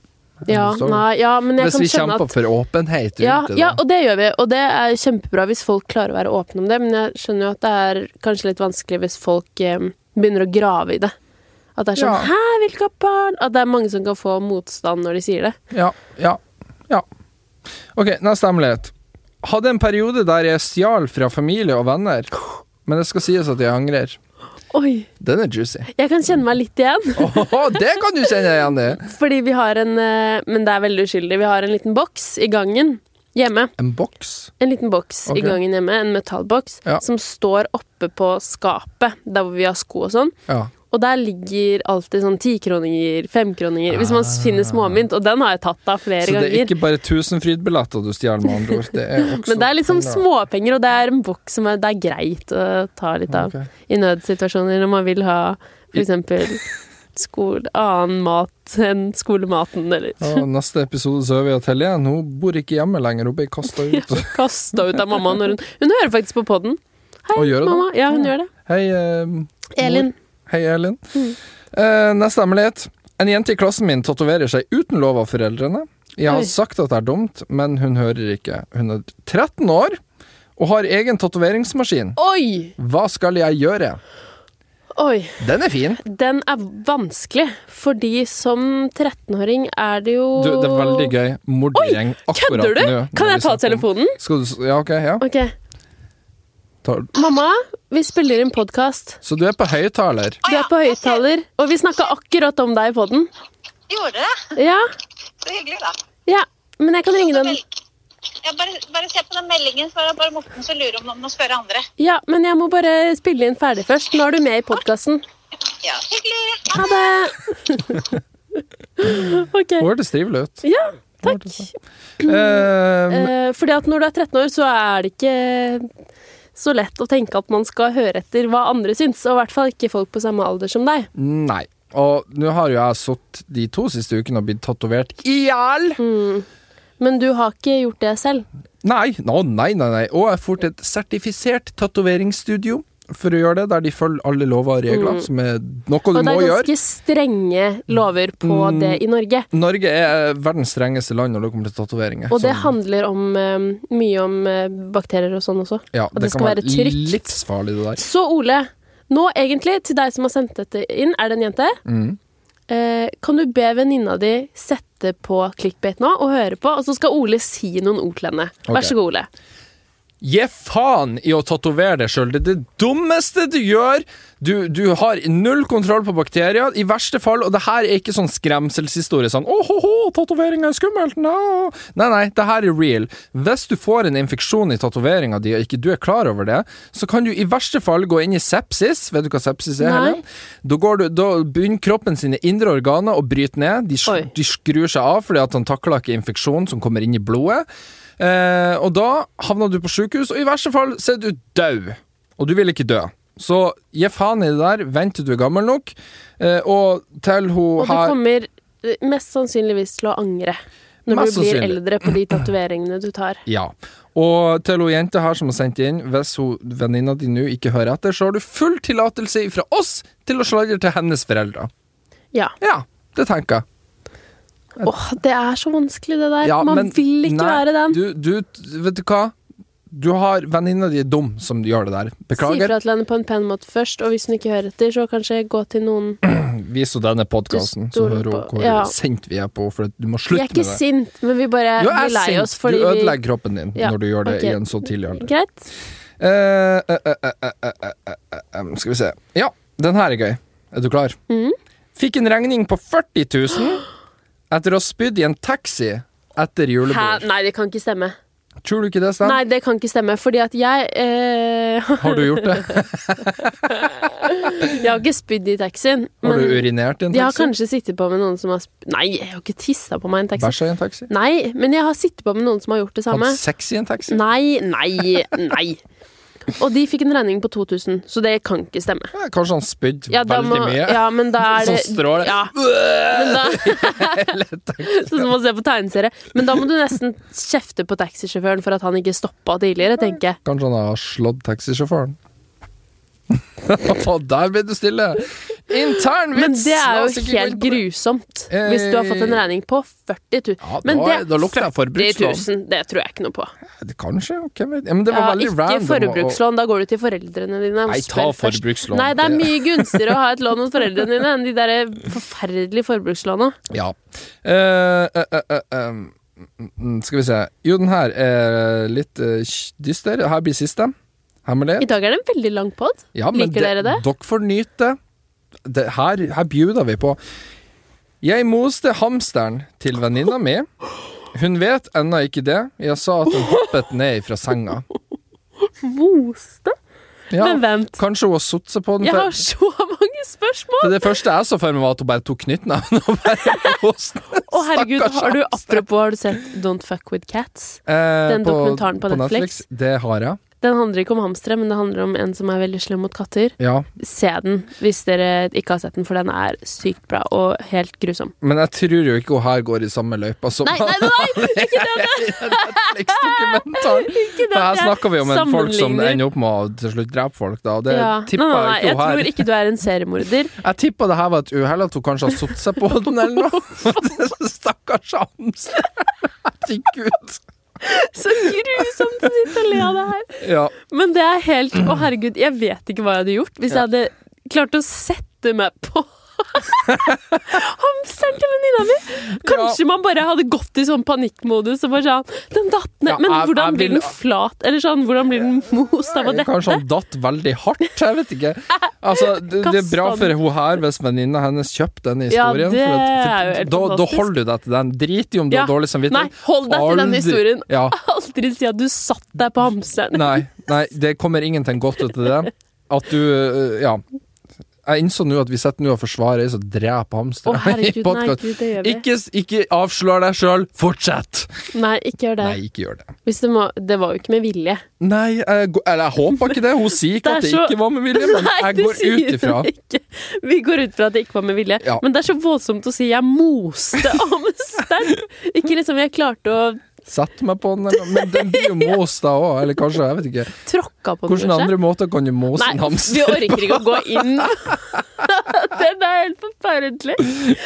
S2: ja,
S1: Sorry.
S2: nei, ja, men jeg
S1: Hvis vi
S2: kan skjønne
S1: kjemper
S2: at
S1: for åpenhet rundt
S2: ja,
S1: det, da.
S2: ja, og det gjør vi, og det er kjempebra hvis folk klarer å være åpne om det, men jeg skjønner jo at det er kanskje litt vanskelig hvis folk eh, begynner å grave i det. At det er sånn
S1: Ja.
S2: 'hæ, jeg vil ikke ha barn?' At det er mange som kan få motstand når de sier det.
S1: Ja, ja, ja. Ok, neste hemmelighet. Hadde en periode der jeg stjal fra familie og venner, men det skal sies at jeg angrer.
S2: Oi,
S1: Den er juicy.
S2: jeg kan kjenne meg litt igjen.
S1: Åhå, det kan du kjenne deg igjen i!
S2: Fordi vi har en eh, Men det er veldig uskyldig. Vi har en liten boks i gangen hjemme.
S1: En boks?
S2: En liten boks
S1: Ok.
S2: i gangen hjemme, en metallboks,
S1: Ja.
S2: som står oppe på skapet, der hvor vi har sko og sånn.
S1: Ja.
S2: Og der ligger alltid sånn tikroninger, femkroninger, hvis man finner småmynt. Og den har jeg tatt av flere
S1: Ah. Så det er
S2: ganger.
S1: ikke bare Tusenfryd-billetter du stjeler, med andre ord. Det er også
S2: Men det er liksom
S1: penger.
S2: småpenger, og det er en boks som er, det er greit å ta litt av
S1: Ah, Ok.
S2: i nødsituasjoner når man vil ha for eksempel skole, annen mat enn skolematen, eller
S1: Og neste episode så er vi at Helene hun bor ikke hjemme lenger, hun ble kasta ut.
S2: kasta ut av mamma når hun Hun hører faktisk på poden. Hei,
S1: Og gjør hun det?
S2: mamma. Ja, hun gjør det.
S1: Hei, eh,
S2: Elin.
S1: hei Elin.
S2: Mm.
S1: Eh, neste hemmelighet. En jente i klassen min tatoverer seg uten lov av foreldrene. Jeg har
S2: Oi.
S1: sagt at det er dumt, men hun hører ikke. Hun er 13 år og har egen tatoveringsmaskin.
S2: Oi!
S1: Hva skal jeg gjøre?
S2: Oi.
S1: Den er fin.
S2: Den er vanskelig, fordi som 13-åring er det jo
S1: Du, det er veldig gøy. Mordergjeng akkurat nå.
S2: Kødder du?
S1: når
S2: Kan
S1: vi
S2: jeg ta
S1: snakker om-
S2: telefonen?
S1: Skal du, s- ja, ok, ja.
S2: Ok.
S1: Ta,
S2: Mamma, vi spiller inn podkast.
S1: Så du er på høyttaler?
S2: Du er på høyttaler, og vi snakka akkurat om deg på den.
S3: Gjorde det?
S2: Ja,
S3: Så hyggelig, da.
S2: ja. Men jeg kan ringe den.
S3: Ja, bare, bare se på den meldingen, så er det bare Morten som lurer om noen må spørre andre.
S2: Ja, men jeg må bare spille inn ferdig først. Nå er du med i podkasten.
S3: Ja, hyggelig.
S2: Ha det! OK.
S1: Hun hørtes trivelig ut.
S2: Ja, takk.
S1: Eh,
S2: Mm. Eh, fordi at når du er 13 år, så er det ikke så lett å tenke at man skal høre etter hva andre syns, og i hvert fall ikke folk på samme alder som deg.
S1: nei. Og nå har jo jeg sittet de to siste ukene og blitt tatovert i hjel!
S2: Men du har ikke gjort det selv.
S1: Nei, nå, nei, nei, nei. Og jeg får til et sertifisert tatoveringsstudio for å gjøre det, der de følger alle lover og regler, som er noe
S2: Mm. Og
S1: du
S2: det
S1: må
S2: er
S1: gjøre. Mm.
S2: ganske strenge lover på det i Norge.
S1: Norge er eh, verdens strengeste land når det kommer til tatoveringer.
S2: Og det
S1: Sånn,
S2: handler om, eh, mye om eh, bakterier og sånn også.
S1: ja,
S2: at det skal være trygt.
S1: livsfarlig, det der.
S2: Så Ole, nå egentlig til deg som har sendt dette inn, er det en jente?
S1: Mm.
S2: Eh, kan du be venninna di sette på clickbait nå og høre på, og så skal Ole si noen ord til henne.
S1: Ok.
S2: Vær så god, Ole.
S1: Gi faen i å tatovere deg sjøl. Det er det dummeste du gjør. Du, du har null kontroll på bakterier, i verste fall, og det her er ikke sånn skremselshistorie. Sånn 'Å, ho, ho, tatovering er skummelt'. No. Nei, nei, det her er real. Hvis du får en infeksjon i tatoveringa di, og ikke du er klar over det, så kan du i verste fall gå inn i sepsis. Vet du hva sepsis er?
S2: Nei.
S1: Helen? Da, går du, da begynner kroppen sine indre organer å bryte ned. De,
S2: Oi.
S1: sk- de skrur seg av fordi at han takler ikke infeksjonen som kommer inn i blodet. Eh, og da havner du på sykehus, og i verste fall så er du død. Og du vil ikke dø. Så gi faen i det der, vent til du er gammel nok, eh, og til hun
S2: Og du
S1: har
S2: kommer eh, mest sannsynligvis til å angre når
S1: Mest
S2: du blir
S1: sannsynlig.
S2: eldre på de tatoveringene du tar.
S1: Ja. Og til hun jenta her som har sendt inn, hvis hun venninna di nå ikke hører etter, så har du full tillatelse fra oss til å sladre til hennes foreldre.
S2: Ja.
S1: Ja, det tenker jeg.
S2: Åh, det er så vanskelig, det der.
S1: Ja,
S2: Man
S1: men-
S2: vil ikke
S1: nei,
S2: være den.
S1: Du, du, vet du hva? Du har venninna di er dum som gjør det der.
S2: Si
S1: Beklager.
S2: fra til henne på en pen måte først, og hvis hun ikke hører etter, så kanskje gå til noen
S1: Vis henne denne podkasten, så
S2: Du stoler
S1: hører hun
S2: på-
S1: hvor
S2: ja.
S1: sint vi er på for at Du må
S2: Vi er
S1: slutte med det.
S2: ikke sint, men vi bare
S1: Du
S2: blir
S1: er
S2: lei oss
S1: sint. Du
S2: fordi vi
S1: ødelegger kroppen din
S2: Ja,
S1: når du gjør det
S2: ok.
S1: i en så tidlig alder.
S2: Greit.
S1: Eh, eh, eh, eh, eh, eh, eh, eh, eh, skal vi se. Ja, den her er gøy. Er du klar?
S2: Mm.
S1: Fikk en regning på 40 000 etter å ha spydd i en taxi etter
S2: Hæ?
S1: julebord.
S2: Nei, det kan ikke stemme.
S1: Tror du ikke det, Sven?
S2: Nei, det kan ikke stemme, fordi at jeg eh,
S1: Har du gjort det?
S2: Jeg har ikke spydd i taxien.
S1: Har du urinert i en
S2: Jeg har
S1: taxi?
S2: kanskje sittet på med noen som har sp Nei, jeg har ikke tissa på meg i en taxi.
S1: Bæsja i en taxi?
S2: Nei, men jeg har sittet på med noen som har gjort det samme. Mm.
S1: Hatt sex i en taxi?
S2: Nei, nei, nei. Og de fikk en regning på 2000, så det kan ikke stemme.
S1: Ja, kanskje han spydde
S2: Ja, da
S1: veldig
S2: må,
S1: mye?
S2: ja men da er det
S1: Sånn strål.
S2: Ja, men da, sånn som å se på tegneserie. Men da må du nesten kjefte på taxisjåføren for at han ikke stoppa tidligere, tenker jeg.
S1: Kanskje han har slått taxisjåføren? Og der ble du stille! Intern
S2: Men
S1: vits!
S2: det er
S1: La oss
S2: jo
S1: ikke gå
S2: helt
S1: inn på det. Eh,
S2: grusomt hvis du har fått en regning på 40 000.
S1: Ja, da-
S2: men
S1: da lukter jeg
S2: 40 000,
S1: forbrukslån.
S2: det tror jeg ikke noe på.
S1: Det Kanskje, ok. men- Ja, men det var
S2: Ja,
S1: veldig
S2: ikke
S1: random. å-
S2: forbrukslån, da går du til foreldrene dine. og
S1: Nei, ta
S2: spør først.
S1: forbrukslån.
S2: Nei, det er
S1: Det-
S2: mye gunstigere å ha et lån hos foreldrene dine enn de der forferdelige forbrukslåna.
S1: Ja. Eh, eh, eh, eh, eh, mm, mm, skal vi se. Jo, den her er litt eh, kj- dyster. Her blir siste.
S2: I
S1: Hemmelig.
S2: dag er det en veldig lang pod.
S1: Ja, men
S2: Liker dere det?
S1: Dere får nyte det. det. Her, her bjuder vi på. Jeg moste hamsteren til venninna mi. Hun vet ennå ikke det. Jeg sa at hun hoppet ned fra senga.
S2: Moste?
S1: Ja,
S2: Men vent,
S1: kanskje hun har satt seg på den.
S2: jeg
S1: for-
S2: har så mange spørsmål!
S1: Det, det første jeg så for meg, var at hun bare tok knyttneven og bare moste.
S2: Å herregud,
S1: Stakkars
S2: har du
S1: hamster.
S2: apropos har du sett Don't Fuck With Cats?
S1: Eh,
S2: den dokumentaren på Netflix?
S1: Det har jeg.
S2: Den handler ikke om hamstere, men det handler om en som er veldig slem mot katter.
S1: Ja.
S2: Se den hvis dere ikke har sett den, for den er sykt bra og helt grusom.
S1: Men jeg tror jo ikke hun her går i samme løypa som
S2: Nei, nei, nei! Ikke den!
S1: Netflix-dokumentaren.
S2: Ikke den
S1: For Her
S2: jeg
S1: snakker vi om en folk som
S2: sammenligner.
S1: ender opp med å til slutt drepe folk, da. Og det
S2: Ja.
S1: tipper
S2: nei, nei, nei,
S1: jeg ikke hun
S2: Jeg
S1: her.
S2: tror ikke du er en seriemorder.
S1: Jeg tippa det her var et uhell, at hun kanskje har satt seg på den, eller noe. Stakkars hamster. Herregud.
S2: Så grusomt å sitte og le av det her.
S1: Ja.
S2: Men det er helt Å, herregud, jeg vet ikke hva jeg hadde gjort hvis jeg hadde klart å sette meg på hamsteren til venninna mi. Kanskje man bare hadde gått i sånn panikkmodus og bare sånn Den datt ned.
S1: Ja,
S2: Men
S1: jeg- jeg
S2: hvordan blir
S1: vil-
S2: den flat? Eller sånn, hvordan blir den most av å dette?
S1: eh, Kanskje han datt veldig hardt, jeg vet ikke. Altså, det, det er bra for hun her hvis venninna hennes kjøper denne
S2: Ja,
S1: historien.
S2: det
S1: for at, for
S2: er jo helt
S1: da, da
S2: fantastisk.
S1: holder du deg til den. Drit i om du
S2: Ja.
S1: har dårlig
S2: Nei,
S1: samvittighet.
S2: hold deg til den
S1: Aldri-
S2: historien.
S1: Ja.
S2: Aldri si at du satt deg på hamsteren.
S1: Nei, nei, det kommer ingenting godt ut av det. At du øh, Ja. Jeg innså nå at vi sitter nå og forsvarer ei som dreper
S2: Å,
S1: hamstere i
S2: herregud, nei,
S1: podkast.
S2: gud, det gjør vi.
S1: Ikke, ikke avslør deg sjøl, fortsett!
S2: Nei, ikke gjør det.
S1: Nei, ikke gjør det.
S2: Hvis det, må, det var jo ikke med vilje.
S1: Nei, jeg, går- eller jeg håper ikke det. Hun sier ikke
S2: Det er
S1: at det
S2: så-
S1: ikke var med vilje, men
S2: Nei,
S1: jeg
S2: du
S1: går
S2: sier
S1: ut ifra
S2: det ikke. Vi går ut fra at det ikke var med vilje.
S1: Ja.
S2: Men det er så voldsomt å si 'jeg moste hamsteren'. Ikke liksom jeg klarte å
S1: Sett meg på den, eller- men den blir jo most da òg, eller kanskje, jeg vet ikke.
S2: tråkka på den.
S1: Hvilke
S2: kanskje.
S1: andre måter kan du mose en
S2: Nei, vi
S1: hamster?
S2: orker ikke å gå inn. Den er helt forferdelig.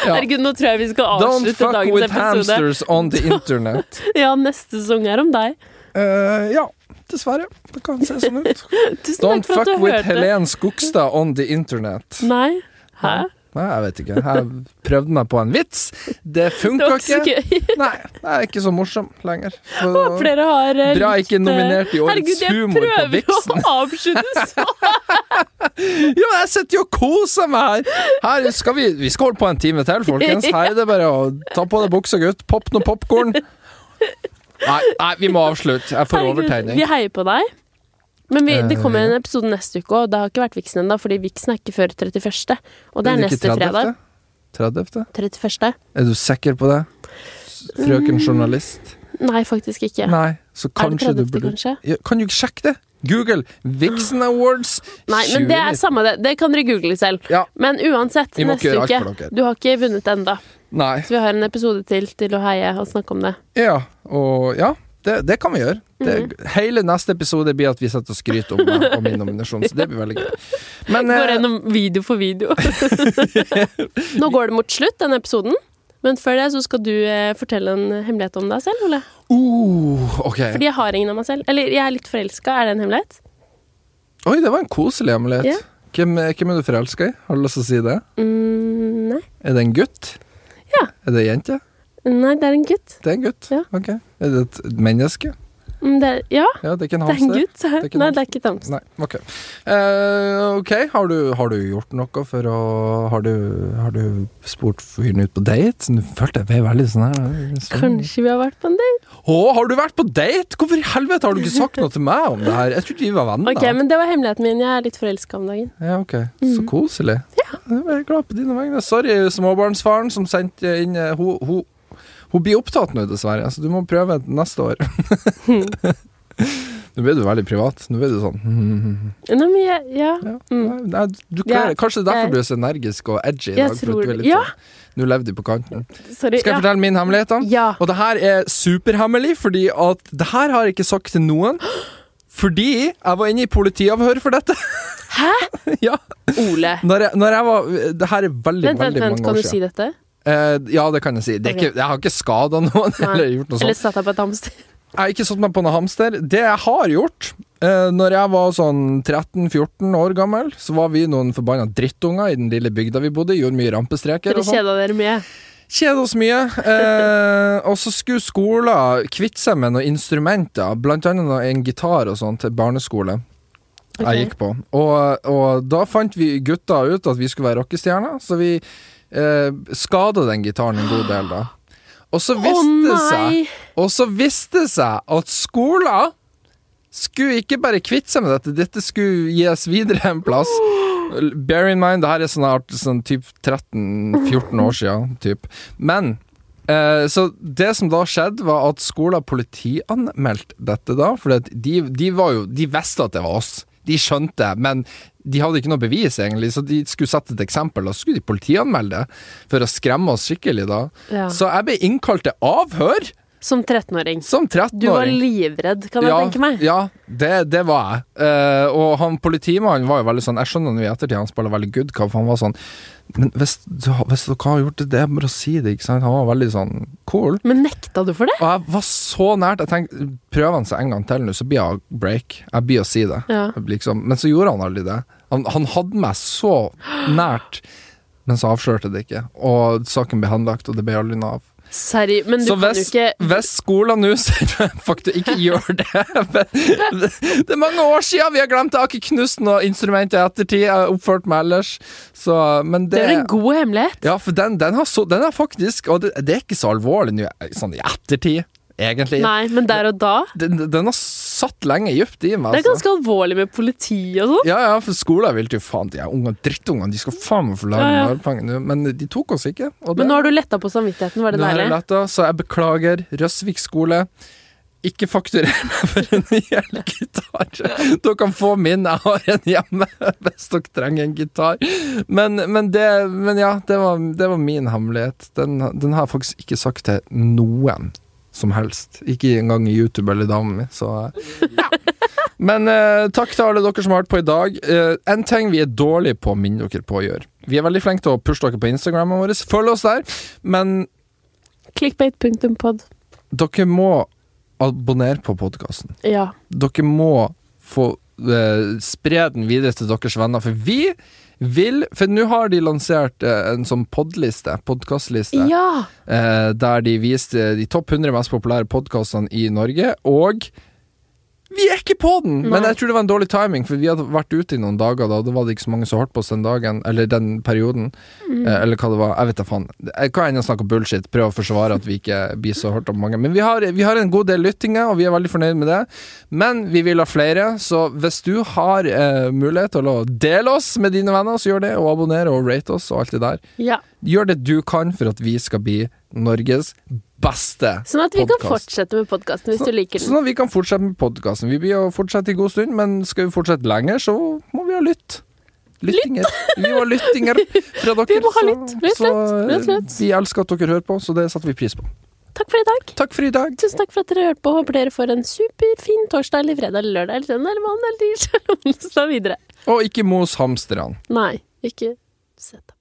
S1: Ja.
S2: Herregud, nå tror jeg vi skal
S1: Don't
S2: avslutte
S1: fuck
S2: dagens
S1: with
S2: episode.
S1: hamsters on the internet.
S2: Ja, neste sesong er om deg.
S1: Eh, ja, dessverre. Det kan se sånn ut.
S2: Tusen
S1: Don't
S2: takk for at
S1: fuck
S2: du
S1: with
S2: hørte.
S1: Helen Skogstad on the internet.
S2: Nei? Hæ?
S1: Nei, jeg vet ikke. Jeg prøvde meg på en vits. Det
S2: Det var
S1: funka
S2: ikke så
S1: ikke.
S2: gøy.
S1: Nei, jeg er ikke så morsom lenger. Så-
S2: Håper dere har eh,
S1: Bra
S2: likt,
S1: ikke
S2: eh,
S1: nominert i årets humor på
S2: Herregud, jeg
S1: Vixen.
S2: prøver å avslutte så
S1: Ja, men jeg sitter jo og koser meg her! her skal vi, vi skal holde på en time til, folkens. Her er det bare å ta på deg buksa, gutt. Popp noe popkorn. Nei, nei, vi må avslutte. Jeg får
S2: Herregud,
S1: overtegning.
S2: Vi heier på deg. Men vi, det
S1: Eh,
S2: kommer en episode neste uke, og det har ikke vært Vixen ennå, fordi Vixen er ikke før 31. Og det er
S1: ikke
S2: neste fredag.
S1: 30.?
S2: 31.
S1: Er du sikker på det? S- Frøken journalist?
S2: Nei, faktisk ikke.
S1: Nei, så kanskje
S2: er
S1: du
S2: det 30.
S1: burde
S2: kanskje?
S1: ja, Kan du ikke sjekke det? Google Vixen Awards
S2: Nei, men det er
S1: 2019.
S2: samme det. Det kan dere google selv.
S1: Ja.
S2: Men uansett,
S1: Vi må ikke
S2: neste
S1: gjøre alt
S2: uke
S1: for dere.
S2: Du har ikke vunnet ennå,
S1: Nei.
S2: så vi har en episode til til å heie og snakke om det.
S1: Ja, og ja. Det, det kan vi gjøre. Det,
S2: Mhm.
S1: Hele neste episode blir at vi setter og skryter om meg og min nominasjon, så det blir veldig gøy. Men
S2: Går
S1: eh,
S2: gjennom video for video. Nå går det mot slutt, denne episoden. Men før det så skal du eh, fortelle en hemmelighet om deg selv, Ole.
S1: Uh, ok.
S2: Fordi jeg har ingen av meg selv. Eller jeg er litt forelska. Er det en hemmelighet?
S1: Oi, det var en koselig hemmelighet.
S2: Ja.
S1: Hvem, hvem er du forelska i? Har du lyst til å si det?
S2: Mm, nei.
S1: Er det en gutt?
S2: Ja.
S1: Er det ei jente?
S2: nei, det er en gutt.
S1: Det er en gutt.
S2: Ja.
S1: Ok. Er det et menneske?
S2: Mm, Det, er- ja,
S1: Ja, det er ikke en
S2: det er en
S1: hamster.
S2: gutt.
S1: er ikke
S2: Nei,
S1: en
S2: det er ikke Tams.
S1: Nei, ok. Eh, ok, har du, har du gjort noe for å Har du, har du spurt fyren ut på date? Nå følte jeg ble veldig sånn her sånn.
S2: Kanskje vi har vært på en date?
S1: Å, har du vært på date?! Hvorfor i helvete har du ikke sagt noe til meg om det her? Jeg trodde vi var venner.
S2: Ok, men Mm. det var hemmeligheten min. Jeg er litt forelska om dagen.
S1: Ja, ok. Så koselig. Jeg er glad på dine vegne. Sorry, småbarnsfaren som sendte inn eh, Hun, hun, hun blir opptatt nå, dessverre, så du må prøve neste år. Nå ble du veldig privat. Nå ble du sånn mhm.
S2: Nei, men jeg, ja.
S1: ja.
S2: Mm.
S1: Nei, du klarer,
S2: Ja,
S1: Kanskje det er
S2: jeg-
S1: derfor du er så energisk og edgy i
S2: Jeg
S1: dag. for at
S2: tror
S1: du er
S2: det.
S1: litt
S2: Ja.
S1: sånn- Nå levde du på kanten.
S2: Sorry.
S1: Skal jeg
S2: ja.
S1: fortelle min hemmelighet, da?
S2: Ja.
S1: Og det her er superhemmelig, fordi at det her har jeg ikke sagt til noen. Fordi jeg var inne i politiavhør for dette.
S2: Hæ?
S1: ja.
S2: Ole.
S1: Når jeg, når jeg var Det her er veldig,
S2: Vent, vent,
S1: veldig
S2: vent.
S1: mange
S2: Kan
S1: år
S2: du
S1: siden.
S2: si dette?
S1: Eh, ja, det kan jeg si. Det er
S2: Ok.
S1: ikke, jeg har ikke skada noen.
S2: Nei.
S1: eller gjort noe sånt.
S2: Eller satt deg på et hamster?
S1: Jeg har ikke satt meg på noen hamster. Det jeg har gjort eh, Når jeg var sånn 13-14 år gammel, så var vi noen forbanna drittunger i den lille bygda vi bodde i. Gjorde mye rampestreker.
S2: Dere
S1: og sånn.
S2: kjeda dere med.
S1: Kjede oss mye. Eh, og så skulle skolen kvitte seg med noen instrumenter, blant annet noe- en gitar og sånn, til barneskole jeg
S2: Ok.
S1: gikk på. Og, og da fant vi gutta ut at vi skulle være rockestjerner, så vi eh, skada den gitaren en god del, da. Og så
S2: Å
S1: viste det seg
S2: nei!
S1: og så viste det seg at skolen skulle ikke bare kvitte seg med dette, dette skulle gis videre en plass. Bear in mind, det her er sånn, art- sånn typ 13-14 år siden. Typ. Men eh, Så det som da skjedde, var at skolen politianmeldte dette da, for at de, de var jo De visste at det var oss. De skjønte, men de hadde ikke noe bevis, egentlig, så de skulle sette et eksempel, og så skulle de politianmelde det for å skremme oss skikkelig da.
S2: Ja.
S1: Så jeg ble innkalt til avhør.
S2: Som 13-åring.
S1: Som 13-åring.
S2: Du var livredd, kan jeg
S1: ja,
S2: tenke meg.
S1: Ja, det, det var jeg. Eh, og han politimannen var jo veldig sånn Jeg skjønner nå i ettertid han spiller veldig good cop, for han var sånn Men hvis, du har- hvis dere har gjort det, det er bare å si det, ikke sant? Han var veldig sånn cool.
S2: Men nekta du for det?
S1: Og jeg var så nært. Jeg tenkte, Prøver han seg en gang til nå, så blir jeg break. Jeg blir å si det.
S2: Ja.
S1: Liksom. Men så gjorde han aldri det. Han, han hadde meg så nært, men så avslørte det ikke. Og saken ble henlagt, og det ble aldri noe av.
S2: Seri, men du
S1: Så
S2: kan jo
S1: hvis,
S2: ikke
S1: hvis skolen nå sier faktisk ikke gjør det men Det er mange år siden vi har glemt Aker Knutsen og instrumentet i ettertid. Jeg har oppført meg ellers. Så, men
S2: Det
S1: det,
S2: er en god hemmelighet.
S1: Ja, for den, den, har så, den er faktisk Og det, det er ikke så alvorlig nå, sånn i ettertid, egentlig.
S2: Nei, men der og da
S1: Den, den har satt lenge dypt i meg.
S2: Det er
S1: altså.
S2: ganske alvorlig med politi og sånn.
S1: Ja, ja, for skolen ville jo faen De her unge drittungene, de skal faen meg få lage
S2: Ja, ja.
S1: narrepenger nå. Men de tok oss ikke. og det-
S2: Men nå har du letta på samvittigheten, var det
S1: Nå er
S2: deilig?
S1: lett, da, så jeg beklager. Røsvik skole. Ikke fakturer meg for en hel gitar. Dere kan få min, jeg har en hjemme hvis dere trenger en gitar. Men, men, det, men ja, det var, det var min hemmelighet. Den, den har jeg faktisk ikke sagt til noen som helst. Ikke engang YouTube eller damen min, så ja. Men eh, takk til alle dere som har hørt på i dag. Eh, en ting vi er dårlige på å minne dere på å gjøre. Vi er veldig flinke til å pushe dere på Instagrammen vår. Følg oss der. Men
S2: Clickbait.pod.
S1: dere må abonnere på podkasten.
S2: Ja.
S1: Dere må få eh, spre den videre til deres venner, for vi vil For nå har de lansert eh, en sånn podliste, podkastliste,
S2: ja.
S1: eh, der de viste de topp 100 mest populære podkastene i Norge, og vi er ikke på den! Men
S2: Nei.
S1: jeg tror det var en dårlig timing, for vi hadde vært ute i noen dager da, og da var det ikke så mange som hørte på oss den dagen, eller den perioden, eh, eller hva det var. Jeg vet da faen. Jeg kan ennå snakke bullshit, prøve å forsvare at vi ikke blir så hørt av mange. Men vi har, vi har en god del lyttinger, og vi er veldig fornøyd med det. Men vi vil ha flere, så hvis du har eh, mulighet til å dele oss med dine venner, så gjør det, og abonner og rate oss og alt det der.
S2: ja.
S1: Gjør det du kan for at vi skal bli Norges beste
S2: Sånn at vi kan
S1: Podcast.
S2: fortsette med podkasten hvis
S1: Så-
S2: du liker den.
S1: Sånn at vi kan fortsette med podkasten. Vi blir jo fortsette i god stund, men skal vi fortsette lenger, så må vi ha lytt. Lyttinger. Vi må ha lyttinger fra dere.
S2: Vi må ha
S1: så-
S2: lytt. Lytt,
S1: så, eh,
S2: lytt, lytt, lytt.
S1: Vi elsker at dere hører på, så det setter vi pris på.
S2: Takk for i dag.
S1: Takk for i dag.
S2: Tusen takk for at dere hørte på. Håper dere får en superfin torsdag eller fredag eller lørdag eller søndag eller mandag eller tirsdag eller onsdag videre.
S1: Og ikke mos hamsterne.
S2: Nei, ikke sett dem.